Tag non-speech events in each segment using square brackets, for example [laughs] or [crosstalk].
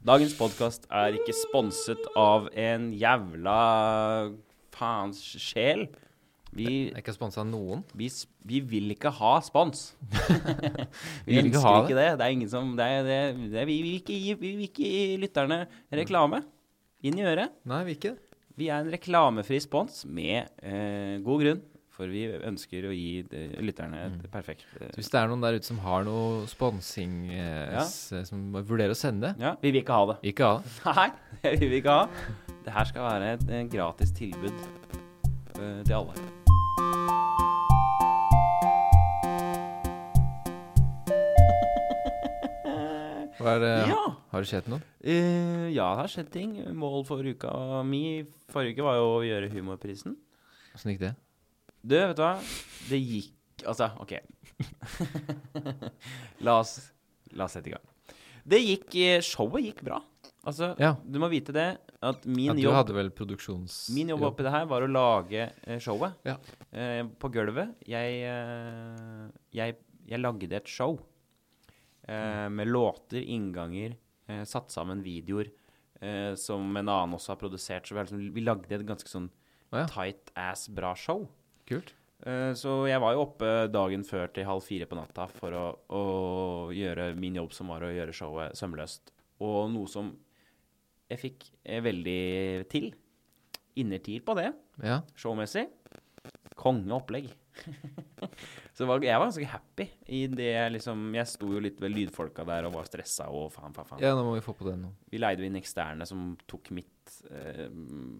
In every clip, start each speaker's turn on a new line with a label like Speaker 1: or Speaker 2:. Speaker 1: Dagens podkast er ikke sponset av en jævla faens sjel. Vi,
Speaker 2: Jeg er ikke sponsa av noen.
Speaker 1: vi, s- vi vil ikke ha
Speaker 2: [laughs]
Speaker 1: spons. vi
Speaker 2: vil ikke
Speaker 1: ønsker
Speaker 2: ha
Speaker 1: ikke det. Det er ingen som det er, det, det, vi, vil ikke gi, vi vil ikke gi lytterne reklame inn i øret.
Speaker 2: Nei, vi ikke.
Speaker 1: Vi er en reklamefri spons med eh, god grunn, for vi ønsker å gi eh, lytterne et
Speaker 2: Mm.
Speaker 1: perfekt eh,
Speaker 2: Hvis det er noen der ute som har noe sponsing eh,
Speaker 1: Ja.
Speaker 2: s- som vurderer å sende,
Speaker 1: Ja, vi vil ikke ha det.
Speaker 2: ikke ha det.
Speaker 1: Nei, det vil vi ikke ha. Det her skal være et eh, gratis tilbud eh, til alle.
Speaker 2: Hva er det?
Speaker 1: Ja.
Speaker 2: Har det skjedd noe?
Speaker 1: Eh, ja, det har skjedd ting. Mål for uka mi forrige uke var jo å gjøre humorprisen.
Speaker 2: Åssen gikk det?
Speaker 1: Du, vet du hva? Det gikk Altså, OK. [laughs] la, oss, la oss sette i gang. Det gikk eh, Showet gikk bra. Altså,
Speaker 2: Ja.
Speaker 1: du må vite det at min
Speaker 2: At du
Speaker 1: jobb
Speaker 2: hadde vel produksjons...
Speaker 1: Min jobb oppi det her var å lage eh, showet
Speaker 2: Ja.
Speaker 1: eh, på gulvet. Jeg, eh, jeg, jeg lagde et show eh, med låter, innganger, eh, satt sammen videoer eh, som en annen også har produsert. Så vi, har liksom, vi lagde et ganske sånn
Speaker 2: Å ja.
Speaker 1: tight ass bra show.
Speaker 2: Kult.
Speaker 1: Eh, Så jeg var jo oppe dagen før til halv fire på natta for å, å gjøre min jobb, som var å gjøre showet sømløst. Og noe som jeg fikk eh, veldig til. Innertier på det,
Speaker 2: Ja.
Speaker 1: showmessig. Kongeopplegg. [laughs] så var, jeg var ganske happy i det jeg liksom Jeg sto jo litt ved lydfolka der og var stressa og faen, faen, faen.
Speaker 2: ja, nå må vi få på den nå.
Speaker 1: Vi leide jo inn eksterne som tok mitt eh,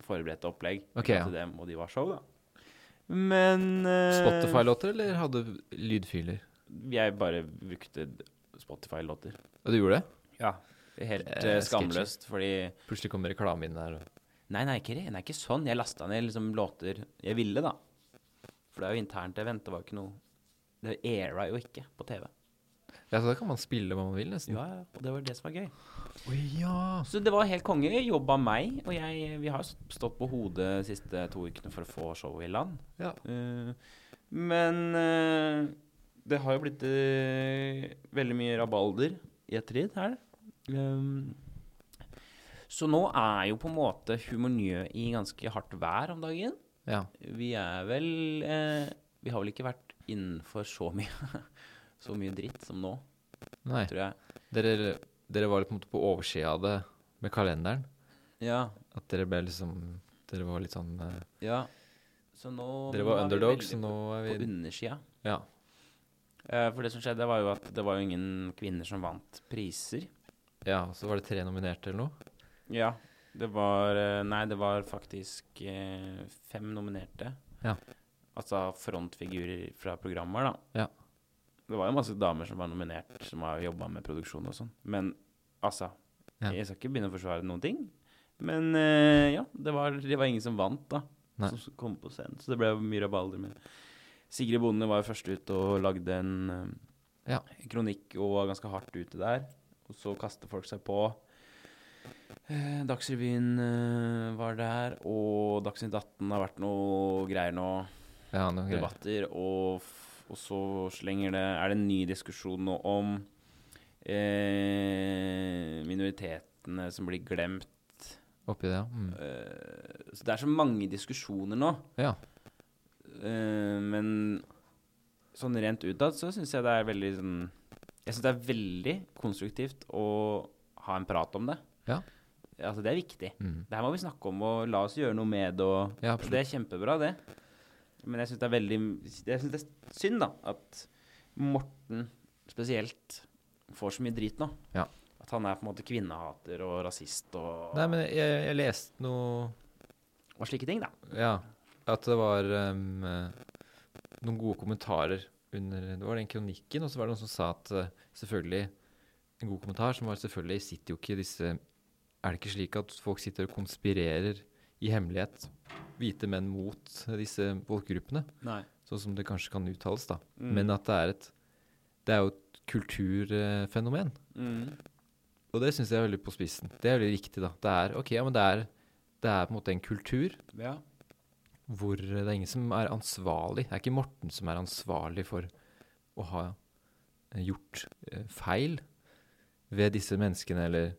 Speaker 1: forberedte opplegg.
Speaker 2: Ok,
Speaker 1: Til
Speaker 2: ja.
Speaker 1: det, og de var show, da. Men eh,
Speaker 2: Spotify-låter, eller hadde du lydfiler?
Speaker 1: Jeg bare brukte Spotify-låter.
Speaker 2: Og du gjorde det?
Speaker 1: Ja. Helt
Speaker 2: Eh,
Speaker 1: eh, skamløst, fordi
Speaker 2: Plutselig kom reklame inn der. og-
Speaker 1: Nei, nei, ikke, det. det er ikke sånn. Jeg lasta ned liksom låter jeg ville, da. For det er jo internt event. Det var jo ikke noe Det era jo ikke på TV.
Speaker 2: Ja, så da kan man spille hva man vil, nesten.
Speaker 1: Ja, ja, Og det var det som var gøy.
Speaker 2: Å ja.
Speaker 1: Så det var helt konge. Jobba meg, og jeg Vi har jo stått på hodet de siste to ukene for å få showet i land.
Speaker 2: Ja.
Speaker 1: Eh, men eh, det har jo blitt eh, veldig mye rabalder i ettertid her. Um, så nå er jo på en måte Humornjø i ganske hardt vær om dagen.
Speaker 2: ja.
Speaker 1: Vi er vel eh, Vi har vel ikke vært innenfor så mye [laughs] Så mye dritt som nå,
Speaker 2: Nei.
Speaker 1: tror jeg.
Speaker 2: Dere, dere var på en måte på oversida av det med kalenderen.
Speaker 1: Ja.
Speaker 2: At dere ble liksom Dere var litt sånn eh,
Speaker 1: ja. Så nå
Speaker 2: Dere var
Speaker 1: nå er vi
Speaker 2: underdogs,
Speaker 1: veldig
Speaker 2: så nå er
Speaker 1: På
Speaker 2: vi
Speaker 1: undersida.
Speaker 2: Ja.
Speaker 1: Eh, for det som skjedde, var jo at det var jo ingen kvinner som vant priser.
Speaker 2: ja. Så var det tre nominerte eller noe?
Speaker 1: Ja. Det var eh, Nei, det var faktisk eh, fem nominerte.
Speaker 2: Ja.
Speaker 1: Altså frontfigurer fra programmer, da.
Speaker 2: Ja.
Speaker 1: Det var jo masse damer som var nominert, som har jobba med produksjon og sånn. Men altså
Speaker 2: Ja.
Speaker 1: Jeg skal ikke begynne å forsvare noen ting. Men eh, ja, det var, det var ingen som vant, da.
Speaker 2: Nei.
Speaker 1: Som s- kom på scenen. Så det ble mye rabalder med Sigrid Bonde var jo først ute og lagde en eh,
Speaker 2: Ja.
Speaker 1: kronikk og var ganske hardt ute der. Og så kaster folk seg på. Eh, Dagsrevyen eh, var der, og Dagsnytt 18 har vært noe greier nå.
Speaker 2: Ja, noe greier.
Speaker 1: Debatter, og, f- og så slenger det Er det en ny diskusjon nå om eh, minoritetene som blir glemt?
Speaker 2: Oppi det, ja. Mm.
Speaker 1: Eh, så det er så mange diskusjoner nå.
Speaker 2: Ja.
Speaker 1: Eh, men sånn rent utad så syns jeg det er veldig sånn Jeg syns det er veldig konstruktivt å ha en prat om det.
Speaker 2: Ja.
Speaker 1: Altså, det er viktig.
Speaker 2: Mm.
Speaker 1: Det her må vi snakke om, og la oss gjøre noe med det. Og
Speaker 2: Ja,
Speaker 1: og det er kjempebra, det. Men jeg syns det er veldig Jeg synes det er synd, da, at Morten spesielt får så mye drit nå.
Speaker 2: Ja.
Speaker 1: At han er på en måte kvinnehater og rasist og,
Speaker 2: Nei, men jeg, jeg leste noe
Speaker 1: og slike ting, da.
Speaker 2: Ja. At det var ehm, eh, noen gode kommentarer under Det var den kronikken, og så var det noen som sa at eh, selvfølgelig En god kommentar som var selvfølgelig sitter jo ikke disse Er det ikke slik at folk sitter og konspirerer i hemmelighet, hvite menn mot disse folkegruppene?
Speaker 1: Nei.
Speaker 2: Sånn som det kanskje kan uttales, da.
Speaker 1: Mm.
Speaker 2: Men at det er et Det er jo et kulturfenomen.
Speaker 1: Mm.
Speaker 2: Og det syns jeg er veldig på spissen. Det er veldig riktig, da. Det er ok, ja, men det er, det er på en måte en kultur
Speaker 1: Ja.
Speaker 2: hvor det er ingen som er ansvarlig. Det er ikke Morten som er ansvarlig for å ha eh, gjort eh, feil ved disse menneskene, eller,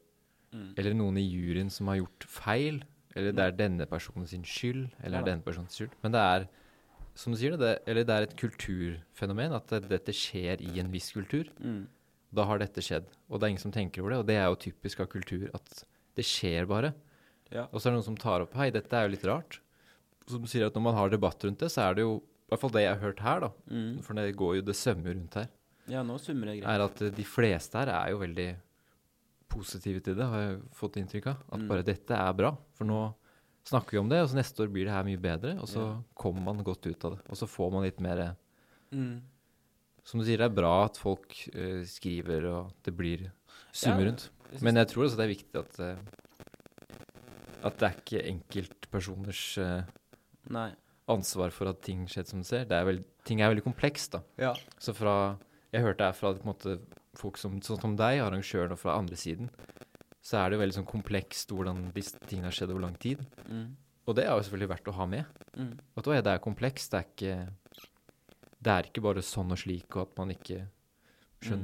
Speaker 1: Mm.
Speaker 2: eller noen i juryen som har gjort feil, eller det er denne personen sin skyld, eller
Speaker 1: Ja
Speaker 2: er
Speaker 1: da.
Speaker 2: denne personens skyld. Men det er, som du sier, det, det, eller det er et kulturfenomen at det, dette skjer i en viss kultur.
Speaker 1: Mm.
Speaker 2: Da har dette skjedd, og det er ingen som tenker over det, og det er jo typisk av kultur at det skjer bare.
Speaker 1: Ja.
Speaker 2: Og så er det noen som tar opp, hei, dette er jo litt rart. Som sier at når man har debatt rundt det, så er det jo, i hvert fall det jeg har hørt her da,
Speaker 1: Mm.
Speaker 2: for det går jo det sømmer rundt her,
Speaker 1: Ja, nå summer det greit.
Speaker 2: er at eh, de fleste her er jo veldig positive til det, har jeg fått inntrykk av. At
Speaker 1: Mm.
Speaker 2: bare dette er bra, for nå snakker vi om det, og så neste år blir det her mye bedre, og så kommer man godt ut av det. Og så får man litt mer, eh,
Speaker 1: Mm.
Speaker 2: som du sier, det er bra at folk eh, skriver, og det blir summer
Speaker 1: Ja,
Speaker 2: rundt.
Speaker 1: Jeg synes-
Speaker 2: Men jeg tror også det er viktig at eh, at det er ikke enkeltpersoners eh,
Speaker 1: Nei.
Speaker 2: ansvar for at ting skjer som det ser. Det er vel, ting er veldig komplekst, da.
Speaker 1: Ja.
Speaker 2: Så fra Jeg hørte her fra på en måte, folk som, sånn som deg, arrangøren, og fra andre siden, så er det jo veldig sånn komplekst hvordan disse tingene har skjedd over lang tid.
Speaker 1: Mm.
Speaker 2: Og det er jo selvfølgelig verdt å ha med.
Speaker 1: Mm.
Speaker 2: At «Oi, det er komplekst, det er ikke Det er ikke bare sånn og slik, og at man ikke skjønner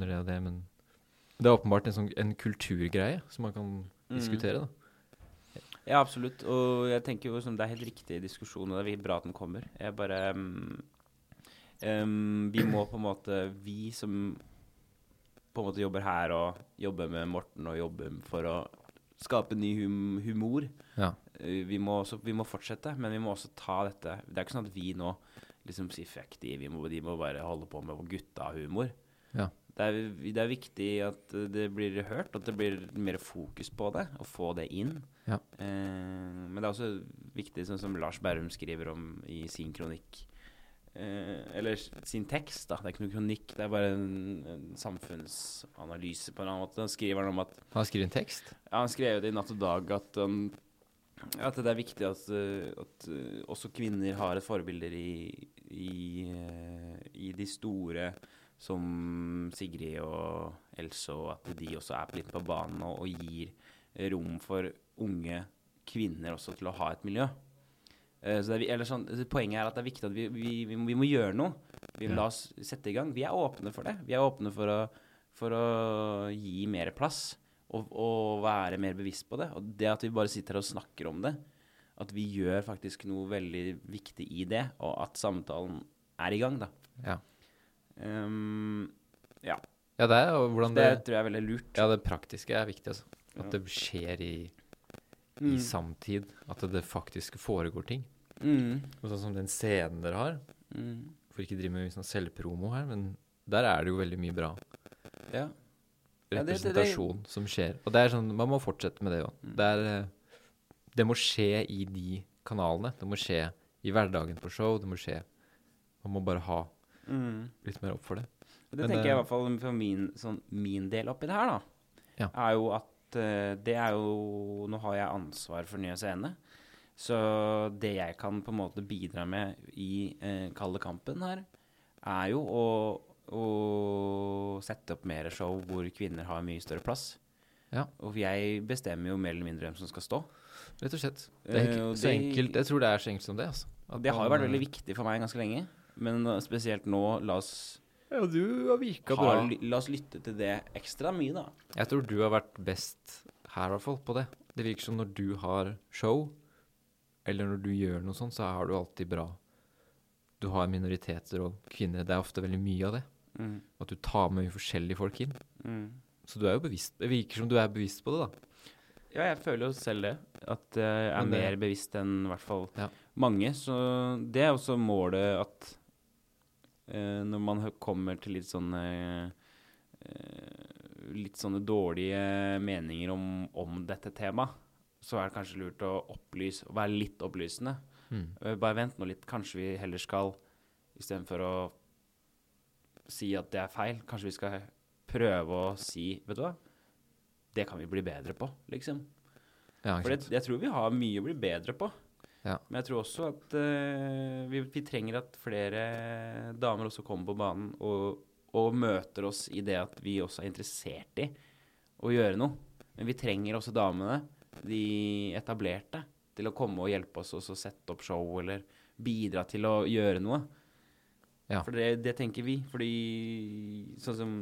Speaker 1: Mm.
Speaker 2: det og det, men det er åpenbart en, sånn, en kulturgreie som man kan
Speaker 1: Mm.
Speaker 2: diskutere, da.
Speaker 1: Ja, absolutt. Og jeg tenker jo som det er helt riktig diskusjon, og det er bra at den kommer. Jeg bare mm, em, Vi må på en måte Vi som på en måte jobber her og jobber med Morten og jobber for å skape ny hum humor,
Speaker 2: Ja.
Speaker 1: eh, vi må, også, vi må fortsette, men vi må også ta dette Det er ikke sånn at vi nå liksom sier fuck de, vi må, de må bare holde på med vår gutta-humor.
Speaker 2: Ja.
Speaker 1: Det, er, det er viktig at det blir hørt, at det blir mer fokus på det, og få det inn.
Speaker 2: Ja.
Speaker 1: Eh, men det er også viktig, sånn som Lars Berrum skriver om i sin kronikk. Eh, eller s- sin tekst, da. Det er ikke noe kronikk, det er bare en, en samfunnsanalyse på en annen måte. Da skriver han om at
Speaker 2: Han har skrevet en tekst.
Speaker 1: ja, han skrev jo det i Natt og Dag at, um, at det er viktig at, uh, at uh, også kvinner har et forbilder i, i, uh, i de store som Sigrid og Else, og at de også er litt på banen og, og gir rom for unge kvinner også til å ha et miljø. Eh, Så det er, vi- eller sånn, så poenget er at det er viktig at vi, vi, vi, må, vi må gjøre noe. Vi
Speaker 2: Ja.
Speaker 1: La oss sette i gang. Vi er åpne for det. Vi er åpne for å, for å gi mer plass og, og være mer bevisst på det. Og det at vi bare sitter her og snakker om det, at vi gjør faktisk noe veldig viktig i det, og at samtalen er i gang, da.
Speaker 2: Ja.
Speaker 1: Ehm, ja.
Speaker 2: Ja, det er jo hvordan det,
Speaker 1: Det tror jeg er veldig lurt.
Speaker 2: Ja, det praktiske er viktig, altså. At
Speaker 1: Ja.
Speaker 2: det skjer i, i
Speaker 1: Mm.
Speaker 2: samtid. At det faktisk foregår ting.
Speaker 1: Mm.
Speaker 2: Og sånn som den scenen dere har,
Speaker 1: Mm.
Speaker 2: for ikke drive med mye sånn selvpromo her, men der er det jo veldig mye bra
Speaker 1: Ja. Ja, det- det- det-
Speaker 2: representasjon som skjer. Og det er sånn, man må fortsette med det òg.
Speaker 1: Mm.
Speaker 2: Det, er, eh, det må skje i de kanalene. Det må skje i hverdagen på show. Det må skje Man må bare ha
Speaker 1: Mm.
Speaker 2: litt mer opp for det.
Speaker 1: Det
Speaker 2: Men eh,
Speaker 1: tenker
Speaker 2: det-
Speaker 1: jeg i hvert fall for min, sånn, min del oppi det her, da.
Speaker 2: Ja.
Speaker 1: Er jo at eh, det er jo Nå har jeg ansvar for Nye Scene. Så det jeg kan på en måte bidra med i eh, kalde kampen her, er jo å, å sette opp mer show hvor kvinner har mye større plass.
Speaker 2: Ja.
Speaker 1: Og jeg bestemmer jo mer eller mindre hvem som skal stå.
Speaker 2: Rett og slett. Det er
Speaker 1: Eh,
Speaker 2: ikke
Speaker 1: og
Speaker 2: så
Speaker 1: det-
Speaker 2: enkelt. Jeg tror det er så enkelt som det. altså. At
Speaker 1: Det har jo
Speaker 2: man,
Speaker 1: vært veldig
Speaker 2: eh,
Speaker 1: viktig for meg ganske lenge. Men eh, spesielt nå, la oss,
Speaker 2: Ja, du har virka
Speaker 1: ha,
Speaker 2: bra.
Speaker 1: la oss lytte til det ekstra mye, da.
Speaker 2: Jeg tror du har vært best her, i hvert fall, på det. Det virker som når du har show, eller når du gjør noe sånt, så har du alltid bra Du har minoriteter og kvinner. Det er ofte veldig mye av det.
Speaker 1: Mm,
Speaker 2: At du tar med mye forskjellige folk inn.
Speaker 1: mm.
Speaker 2: Så du er jo bevisst Det virker som du er bevisst på det, da.
Speaker 1: Ja, jeg føler jo selv det. At eh, jeg er
Speaker 2: Men det-
Speaker 1: mer bevisst enn i hvert fall
Speaker 2: Ja.
Speaker 1: mange. Så det er også målet at eh, når man hø- kommer til litt sånne eh, Litt sånne dårlige meninger om, om dette temaet, så er det kanskje lurt å opplyse, å være litt opplysende.
Speaker 2: Mm.
Speaker 1: Eh, Bare vent nå litt. Kanskje vi heller skal Istedenfor å si at det er feil, kanskje vi skal prøve å si Vet du hva? Det kan vi bli bedre på, liksom.
Speaker 2: Ja,
Speaker 1: For
Speaker 2: ikke
Speaker 1: det,
Speaker 2: sant.
Speaker 1: jeg tror vi har mye å bli bedre på.
Speaker 2: Ja.
Speaker 1: Men jeg tror også at eh, vi, vi trenger at flere damer også kommer på banen og, og møter oss i det at vi også er interessert i å gjøre noe. Men vi trenger også damene, de etablerte, til å komme og hjelpe oss og så sette opp show eller bidra til å gjøre noe.
Speaker 2: Ja.
Speaker 1: For det, det tenker vi. Fordi sånn som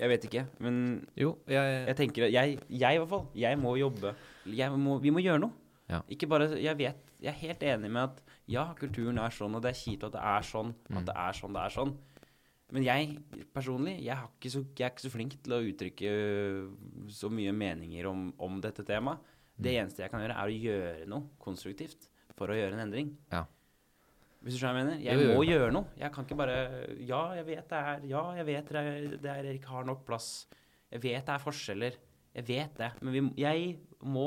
Speaker 1: Jeg vet ikke. Men
Speaker 2: Jo, jeg,
Speaker 1: jeg tenker at jeg, jeg i hvert fall, jeg må jobbe. Jeg må, vi må gjøre noe.
Speaker 2: Ja.
Speaker 1: Ikke bare, jeg vet, jeg er helt enig med at ja, kulturen er sånn, og det er kjipt at det er sånn, at det er sånn, det er sånn. Men jeg personlig, jeg, har ikke så, jeg er ikke så flink til å uttrykke øh, så mye meninger om, om dette temaet. Det
Speaker 2: Mm.
Speaker 1: eneste jeg kan gjøre, er å gjøre noe konstruktivt for å gjøre en endring.
Speaker 2: Ja.
Speaker 1: Hvis du skjønner hva jeg mener?
Speaker 2: Jo,
Speaker 1: Jeg
Speaker 2: jo,
Speaker 1: må
Speaker 2: jo.
Speaker 1: gjøre noe. Jeg kan ikke bare Ja, jeg vet det er Ja, jeg vet det er, det er ikke har nok plass. Jeg vet det er forskjeller. Jeg vet det. Men vi, jeg må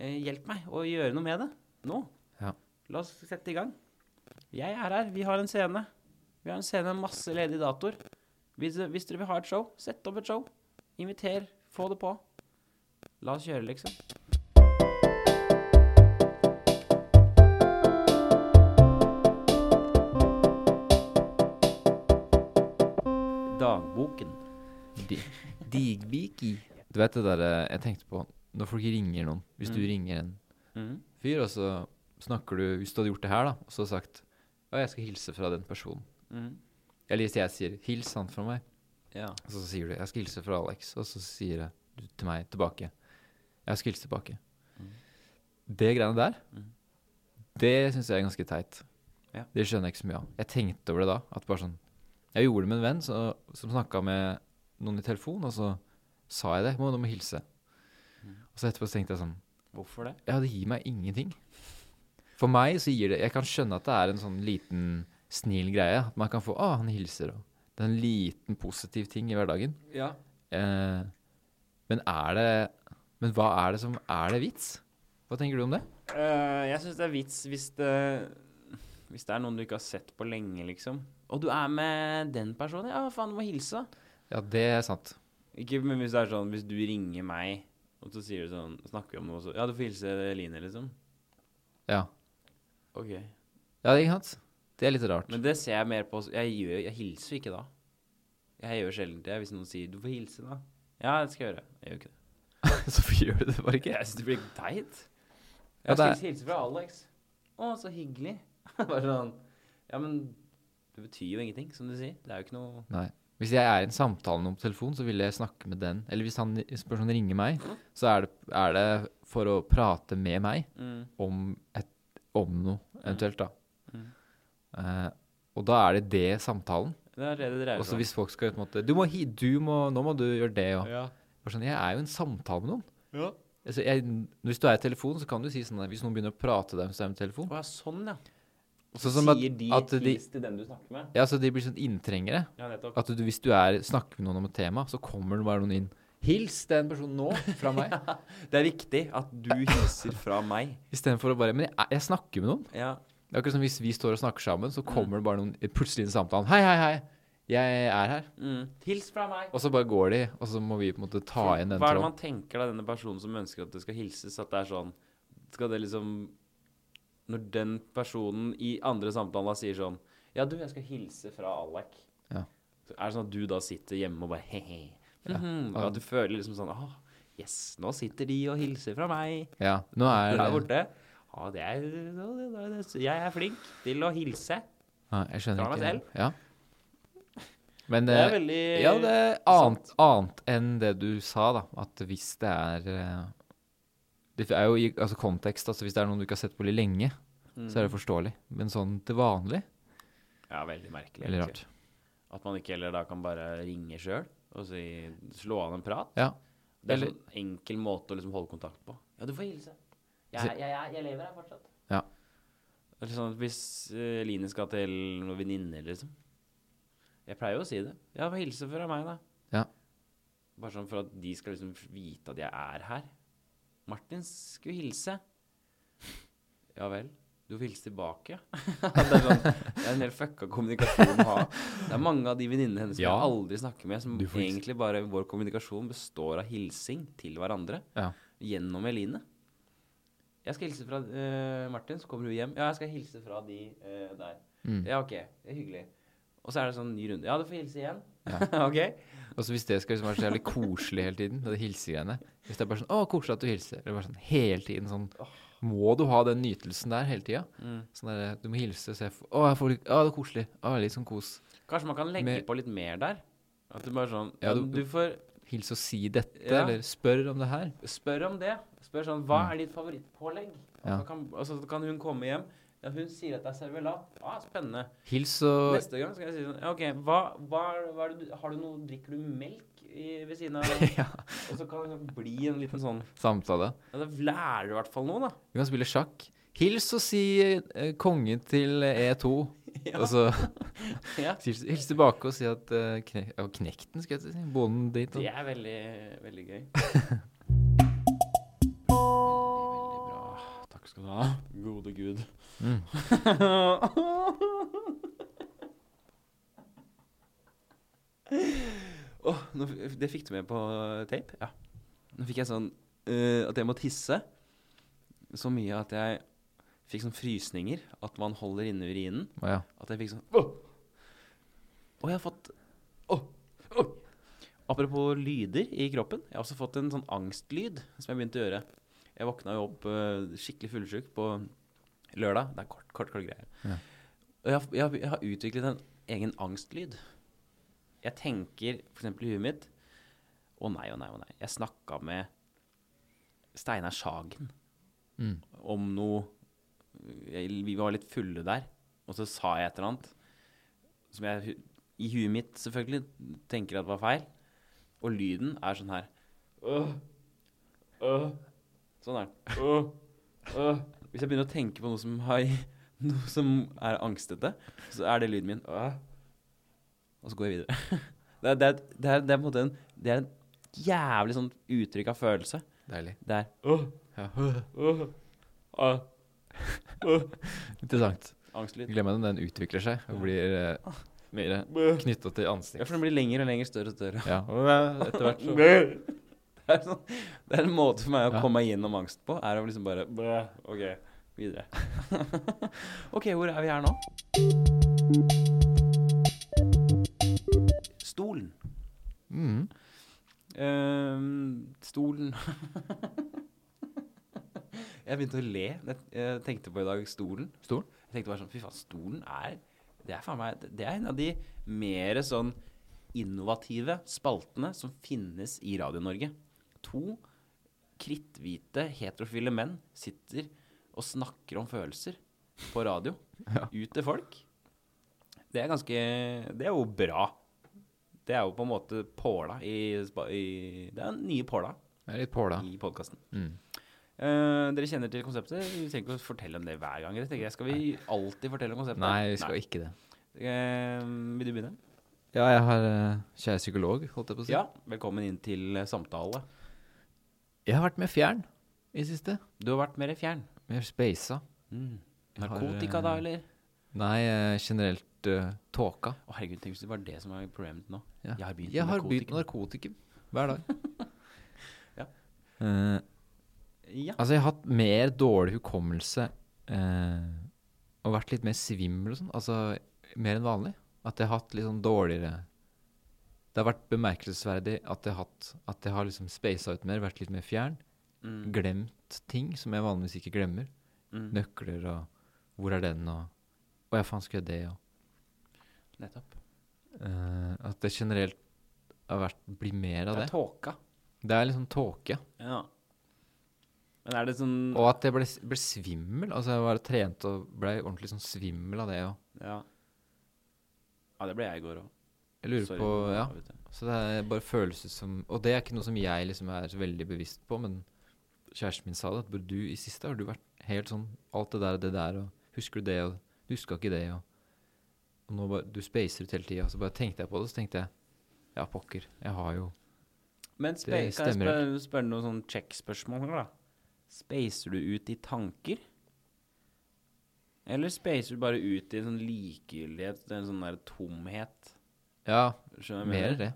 Speaker 1: eh, hjelpe meg å gjøre noe med det. Nå.
Speaker 2: Ja.
Speaker 1: La oss sette i gang. Jeg er her. Vi har en scene. Vi har en scene med masse ledige datoer. Hvis, hvis dere vil ha et show, sett opp et show. Inviter. Få det på. La oss kjøre, liksom. Dagboken.
Speaker 2: di- Digbiki. Du vet det derre jeg tenkte på når folk ringer noen. Hvis du ringer en
Speaker 1: Mhm.
Speaker 2: fyr, og så snakker du Hvis du hadde gjort det her, da, og så sagt Å, jeg skal hilse fra den personen.
Speaker 1: Mhm.
Speaker 2: Eller hvis jeg sier 'hils han fra meg',
Speaker 1: Ja.
Speaker 2: og så sier du 'jeg skal hilse fra Alex', og så sier jeg- du til meg tilbake 'jeg skal hilse tilbake'. Det greiene der, det syns jeg er ganske teit.
Speaker 1: Ja.
Speaker 2: Det skjønner jeg ikke så mye av. Jeg tenkte over det da. at bare sånn, Jeg gjorde det med en venn så, som snakka med noen i telefon, og så sa jeg det. Må, 'Nå må jeg hilse'. Og så etterpå så tenkte jeg sånn
Speaker 1: Hvorfor det?
Speaker 2: ja, det gir meg ingenting. For meg så gir det Jeg kan skjønne at det er en sånn liten snill greie. At man kan få Å, han hilser, og Det er en liten positiv ting i hverdagen.
Speaker 1: Ja.
Speaker 2: Eh, men er det Men hva er det som Er det vits? Hva tenker du om det?
Speaker 1: Eh, jeg syns det er vits hvis det, hvis det er noen du ikke har sett på lenge, liksom. Og du er med den personen. Ja, faen, du må hilse, da.
Speaker 2: Ja, det er sant.
Speaker 1: Ikke men hvis det er sånn, hvis du ringer meg, og så sier du sånn, snakker vi om noe, så Ja, du får hilse Eline, liksom.
Speaker 2: Ja.
Speaker 1: Ok.
Speaker 2: Ja, ikke sant? Det er litt rart.
Speaker 1: Men det ser jeg mer på Jeg, gjør, jeg hilser jo ikke da. Jeg gjør sjelden det hvis noen sier 'du får hilse', da. Ja, det skal jeg gjøre. Jeg gjør ikke det.
Speaker 2: [laughs] så gjør du det bare
Speaker 1: Jeg syns det blir teit.
Speaker 2: Ja,
Speaker 1: Jeg skal
Speaker 2: det
Speaker 1: hilse fra Alex. Å, så hyggelig. [laughs] Bare sånn Ja, men det betyr jo ingenting, som du sier. Det er jo ikke noe
Speaker 2: Nei. Hvis jeg er i en samtale med noen på telefon, så vil jeg snakke med den. Eller hvis han hvis personen ringer meg, så er det, er det for å prate med meg.
Speaker 1: mm.
Speaker 2: om, et, om noe, eventuelt, da.
Speaker 1: Mm.
Speaker 2: Eh, og da er det det samtalen.
Speaker 1: Det er det det dreier
Speaker 2: Og så
Speaker 1: seg om.
Speaker 2: hvis folk skal på en måte du må, hi- du må, 'Nå må du gjøre det', og
Speaker 1: Ja.
Speaker 2: bare sånn, Jeg er jo i en samtale med noen. Altså, jeg, hvis du er i telefon, så kan du si sånn der, hvis noen begynner å prate til deg mens du er med telefon
Speaker 1: Å ja, sånn, ja.
Speaker 2: Sånn som at,
Speaker 1: Sier de
Speaker 2: at de,
Speaker 1: hils til den du snakker med?
Speaker 2: ja, så de blir sånn inntrengere.
Speaker 1: Ja, nettopp.
Speaker 2: At du, hvis du er, snakker med noen om et tema, så kommer det bare noen inn. Hils den personen nå, fra
Speaker 1: [laughs]
Speaker 2: meg.
Speaker 1: Det er viktig at du hilser fra meg.
Speaker 2: Istedenfor å bare Men jeg, er- jeg snakker med noen.
Speaker 1: Ja.
Speaker 2: Det er akkurat som hvis vi står og snakker sammen,
Speaker 1: Mm.
Speaker 2: så kommer det bare noen eh, plutselig inn i samtalen. Hei, hei, hei. Jeg er her.
Speaker 1: Mm. Hils fra meg.
Speaker 2: Og så bare går de, og så må vi på en måte ta igjen den
Speaker 1: Hva er det
Speaker 2: tråden.
Speaker 1: man tenker da, denne personen som ønsker at det skal hilses, at det er sånn Skal det liksom Når den personen i andre samtaler sier sånn Ja, du, jeg skal hilse fra Alek.
Speaker 2: Ja.
Speaker 1: Så er det sånn at du da sitter hjemme og bare he-he.
Speaker 2: Ja.
Speaker 1: Mhm. Og At du føler liksom sånn Åh, yes, nå sitter de og hilser fra meg.
Speaker 2: Ja, nå er
Speaker 1: Der
Speaker 2: det
Speaker 1: borte. Ja, det er, det er- det er- jeg er flink til å hilse.
Speaker 2: Nei, Jeg skjønner
Speaker 1: Drar meg
Speaker 2: ikke. Ja. Men
Speaker 1: Det er
Speaker 2: eh,
Speaker 1: veldig
Speaker 2: Ja, det er annet, annet enn det du sa, da. At hvis det er eh, Det er jo i altså kontekst. altså Hvis det er noen du ikke har sett på litt lenge,
Speaker 1: Mm.
Speaker 2: så er det forståelig. Men sånn til vanlig
Speaker 1: Ja, veldig merkelig.
Speaker 2: Veldig
Speaker 1: egentlig.
Speaker 2: rart.
Speaker 1: At man ikke heller da kan bare ringe sjøl og si, slå av en prat.
Speaker 2: Ja.
Speaker 1: Det er
Speaker 2: Eller-
Speaker 1: en sånn enkel måte å liksom holde kontakt på. Ja, du får hilse. Jeg,
Speaker 2: Så-
Speaker 1: jeg, jeg, jeg lever her fortsatt.
Speaker 2: Ja.
Speaker 1: Eller sånn at hvis eh, Line skal til noen venninner, liksom. Jeg pleier jo å si det. Ja, få hilse fra meg, da.
Speaker 2: Ja.
Speaker 1: Bare sånn for at de skal liksom vite at jeg er her. Martin skulle hilse. Ja vel. Du får hilse tilbake. [laughs] det, er sånn, det er en hel fucka kommunikasjon å ha. Det er mange av de venninnene hennes som
Speaker 2: Ja.
Speaker 1: jeg aldri snakker med, som
Speaker 2: Du får hilse.
Speaker 1: egentlig bare Vår kommunikasjon består av hilsing til hverandre
Speaker 2: Ja.
Speaker 1: gjennom Eline. Jeg skal hilse fra eh, Martin, så kommer hun hjem. Ja, jeg skal hilse fra de eh, der.
Speaker 2: Mm.
Speaker 1: Ja, OK. Det er hyggelig. Og så er det sånn ny runde. Ja, du får hilse igjen.
Speaker 2: Ja.
Speaker 1: [laughs] OK?
Speaker 2: Og så hvis det skal liksom være så jævlig koselig hele tiden, det hilsegreiene Hvis det er bare sånn 'Å, koselig at du hilser', eller bare sånn hele tiden sånn må du ha den nytelsen der hele tida.
Speaker 1: Mm.
Speaker 2: Sånn der, du må hilse og se f- Å, jeg får litt Å, det er koselig. Å, litt sånn kos.
Speaker 1: Kanskje man kan legge
Speaker 2: Med-
Speaker 1: på litt mer der? At du bare sånn
Speaker 2: Ja,
Speaker 1: ja,
Speaker 2: du-
Speaker 1: du, får
Speaker 2: Hils og si dette,
Speaker 1: Ja.
Speaker 2: eller spør om det her.
Speaker 1: Spør om det. Spør sånn Hva er ditt favorittpålegg? Og
Speaker 2: Mm. Ja.
Speaker 1: så kan, og så kan hun komme hjem. Ja, hun sier at det er servelat. Ah, spennende.
Speaker 2: Hils og
Speaker 1: Neste gang skal jeg si sånn ja, OK, hva, hva, er- hva er det du Har du noe Drikker du melk i, ved siden av?
Speaker 2: [laughs] Ja.
Speaker 1: Og så kan det liksom bli en liten sånn
Speaker 2: samtale.
Speaker 1: ja, Da lærer du i hvert fall noe, da.
Speaker 2: Vi kan spille sjakk. Hils og si eh, kongen til E2.
Speaker 1: [laughs]
Speaker 2: Og så
Speaker 1: Ja.
Speaker 2: hils, hils tilbake og si at eh, kne, ja, Knekten, skal jeg til å si. Bonden dit. Og.
Speaker 1: Det er veldig, veldig [laughs] gøy. veldig bra. Takk skal du ha. Gode gud.
Speaker 2: Mm.
Speaker 1: [laughs] Åh, nå f- det fikk du med på tape? Ja. Nå fikk jeg sånn eh, at jeg må tisse så mye at jeg fikk sånn frysninger. At man holder inne urinen.
Speaker 2: Å, ja.
Speaker 1: At jeg fikk sånn Åh! Og jeg har fått Åh! Åh! Apropos lyder i kroppen. Jeg har også fått en sånn angstlyd som jeg begynte å gjøre. Jeg våkna jo opp eh, skikkelig fullsjuk på lørdag. Det er kort, kort, kort greie.
Speaker 2: Ja.
Speaker 1: Og jeg, har- jeg, har- jeg har utviklet en egen angstlyd. Jeg tenker f.eks. i huet mitt Å nei, å nei, å nei. Jeg snakka med Steinar Sagen
Speaker 2: Mm.
Speaker 1: om noe jeg, Vi var litt fulle der, og så sa jeg et eller annet som jeg hu- i huet mitt selvfølgelig tenker at var feil. Og lyden er sånn her øh, øh, Sånn er den. Øh, øh. Hvis jeg begynner å tenke på noe som, har, [laughs] noe som er angstete, så er det lyden min. Øh. Og så går jeg videre. [laughs] Det er, det, er, det, er, det er på en måte en Det er en jævlig sånn uttrykk av følelse.
Speaker 2: Deilig.
Speaker 1: Det er
Speaker 2: Ja.
Speaker 1: øh,
Speaker 2: Interessant.
Speaker 1: angstlyd.
Speaker 2: Glem meg når den utvikler seg og blir eh,
Speaker 1: Ah.
Speaker 2: mer knytta til
Speaker 1: Ja,
Speaker 2: ansikt.
Speaker 1: for den blir lengre og lengre, større og [laughs] større.
Speaker 2: Ja. og Etter hvert så
Speaker 1: [laughs] Det er, sånn, det er en måte for meg å
Speaker 2: Ja.
Speaker 1: komme meg gjennom angst på, er å liksom bare bæ, OK, videre. [laughs] OK, hvor er vi her nå? Stolen.
Speaker 2: mm.
Speaker 1: Ehm, stolen [laughs] Jeg begynte å le. Jeg, jeg tenkte på i dag stolen.
Speaker 2: Stolen?
Speaker 1: Jeg tenkte bare sånn Fy faen, stolen er Det er faen meg Det er en av de mer sånn innovative spaltene som finnes i Radio-Norge. To kritthvite heterofile menn sitter og snakker om følelser på radio.
Speaker 2: [laughs] Ja.
Speaker 1: Ut til folk. Det er ganske Det er jo bra. Det er jo på en måte påla i, spa- i Det er den nye påla
Speaker 2: Det er litt påla.
Speaker 1: i podkasten.
Speaker 2: Mm.
Speaker 1: dere kjenner til konseptet. Vi trenger ikke å fortelle om det hver gang. dere tenker jeg. Skal vi alltid fortelle om konseptet?
Speaker 2: Nei, vi skal ikke det.
Speaker 1: Eh, vil du begynne?
Speaker 2: Ja, jeg har eh, kjære psykolog, holdt jeg på å si.
Speaker 1: Ja. Velkommen inn til eh, samtale.
Speaker 2: Jeg har vært mer fjern i siste.
Speaker 1: Du har vært mer fjern. Mm.
Speaker 2: Mer speisa. Jeg har,
Speaker 1: Narkotika,
Speaker 2: eh,
Speaker 1: da, eller?
Speaker 2: Nei, eh, generelt eh, tåka.
Speaker 1: Å, herregud, tenk hvis det var det som var problemet nå.
Speaker 2: Ja.
Speaker 1: Jeg har begynt
Speaker 2: Jeg
Speaker 1: med
Speaker 2: har begynt
Speaker 1: narkotika.
Speaker 2: med narkotikum hver dag.
Speaker 1: [laughs] Ja.
Speaker 2: Eh,
Speaker 1: Ja.
Speaker 2: altså, jeg har hatt mer dårlig hukommelse eh, og vært litt mer svimmel og sånn. Altså mer enn vanlig. At jeg har hatt litt sånn dårligere Det har vært bemerkelsesverdig at jeg har, hatt, at jeg har liksom spasa ut mer, vært litt mer fjern.
Speaker 1: Mm.
Speaker 2: Glemt ting som jeg vanligvis ikke glemmer.
Speaker 1: Mm.
Speaker 2: Nøkler og Hvor er den, og Å ja, faen, skulle jeg det, og
Speaker 1: Nettopp.
Speaker 2: Eh, at det generelt har vært, blir mer
Speaker 1: Det
Speaker 2: av det.
Speaker 1: er tåka.
Speaker 2: Det er liksom tåke.
Speaker 1: Ja. Men er det sånn
Speaker 2: Og at jeg ble, ble svimmel. Altså, jeg var trent og ble ordentlig sånn svimmel av det. Og
Speaker 1: Ja. Ja, det ble jeg i går òg.
Speaker 2: jeg lurer på Ja. Så det er bare følelser som Og det er ikke noe som jeg liksom er så veldig bevisst på, men kjæresten min sa det, at bare du i siste har du vært helt sånn Alt det der og det der, og husker du det, og du huska ikke det, og, og nå bare Du spacer ut hele tida. Så bare tenkte jeg på det, så tenkte jeg ja, pokker. Jeg har jo
Speaker 1: Men spe,
Speaker 2: Det
Speaker 1: kan jeg
Speaker 2: stemmer
Speaker 1: spørre, spørre noen sånn check-spørsmål her, da? Spacer du ut i tanker? Eller spacer du bare ut i en sånn likegyldighet, en sånn der tomhet?
Speaker 2: Ja,
Speaker 1: Skjønner du hva jeg
Speaker 2: mer
Speaker 1: mener?
Speaker 2: det.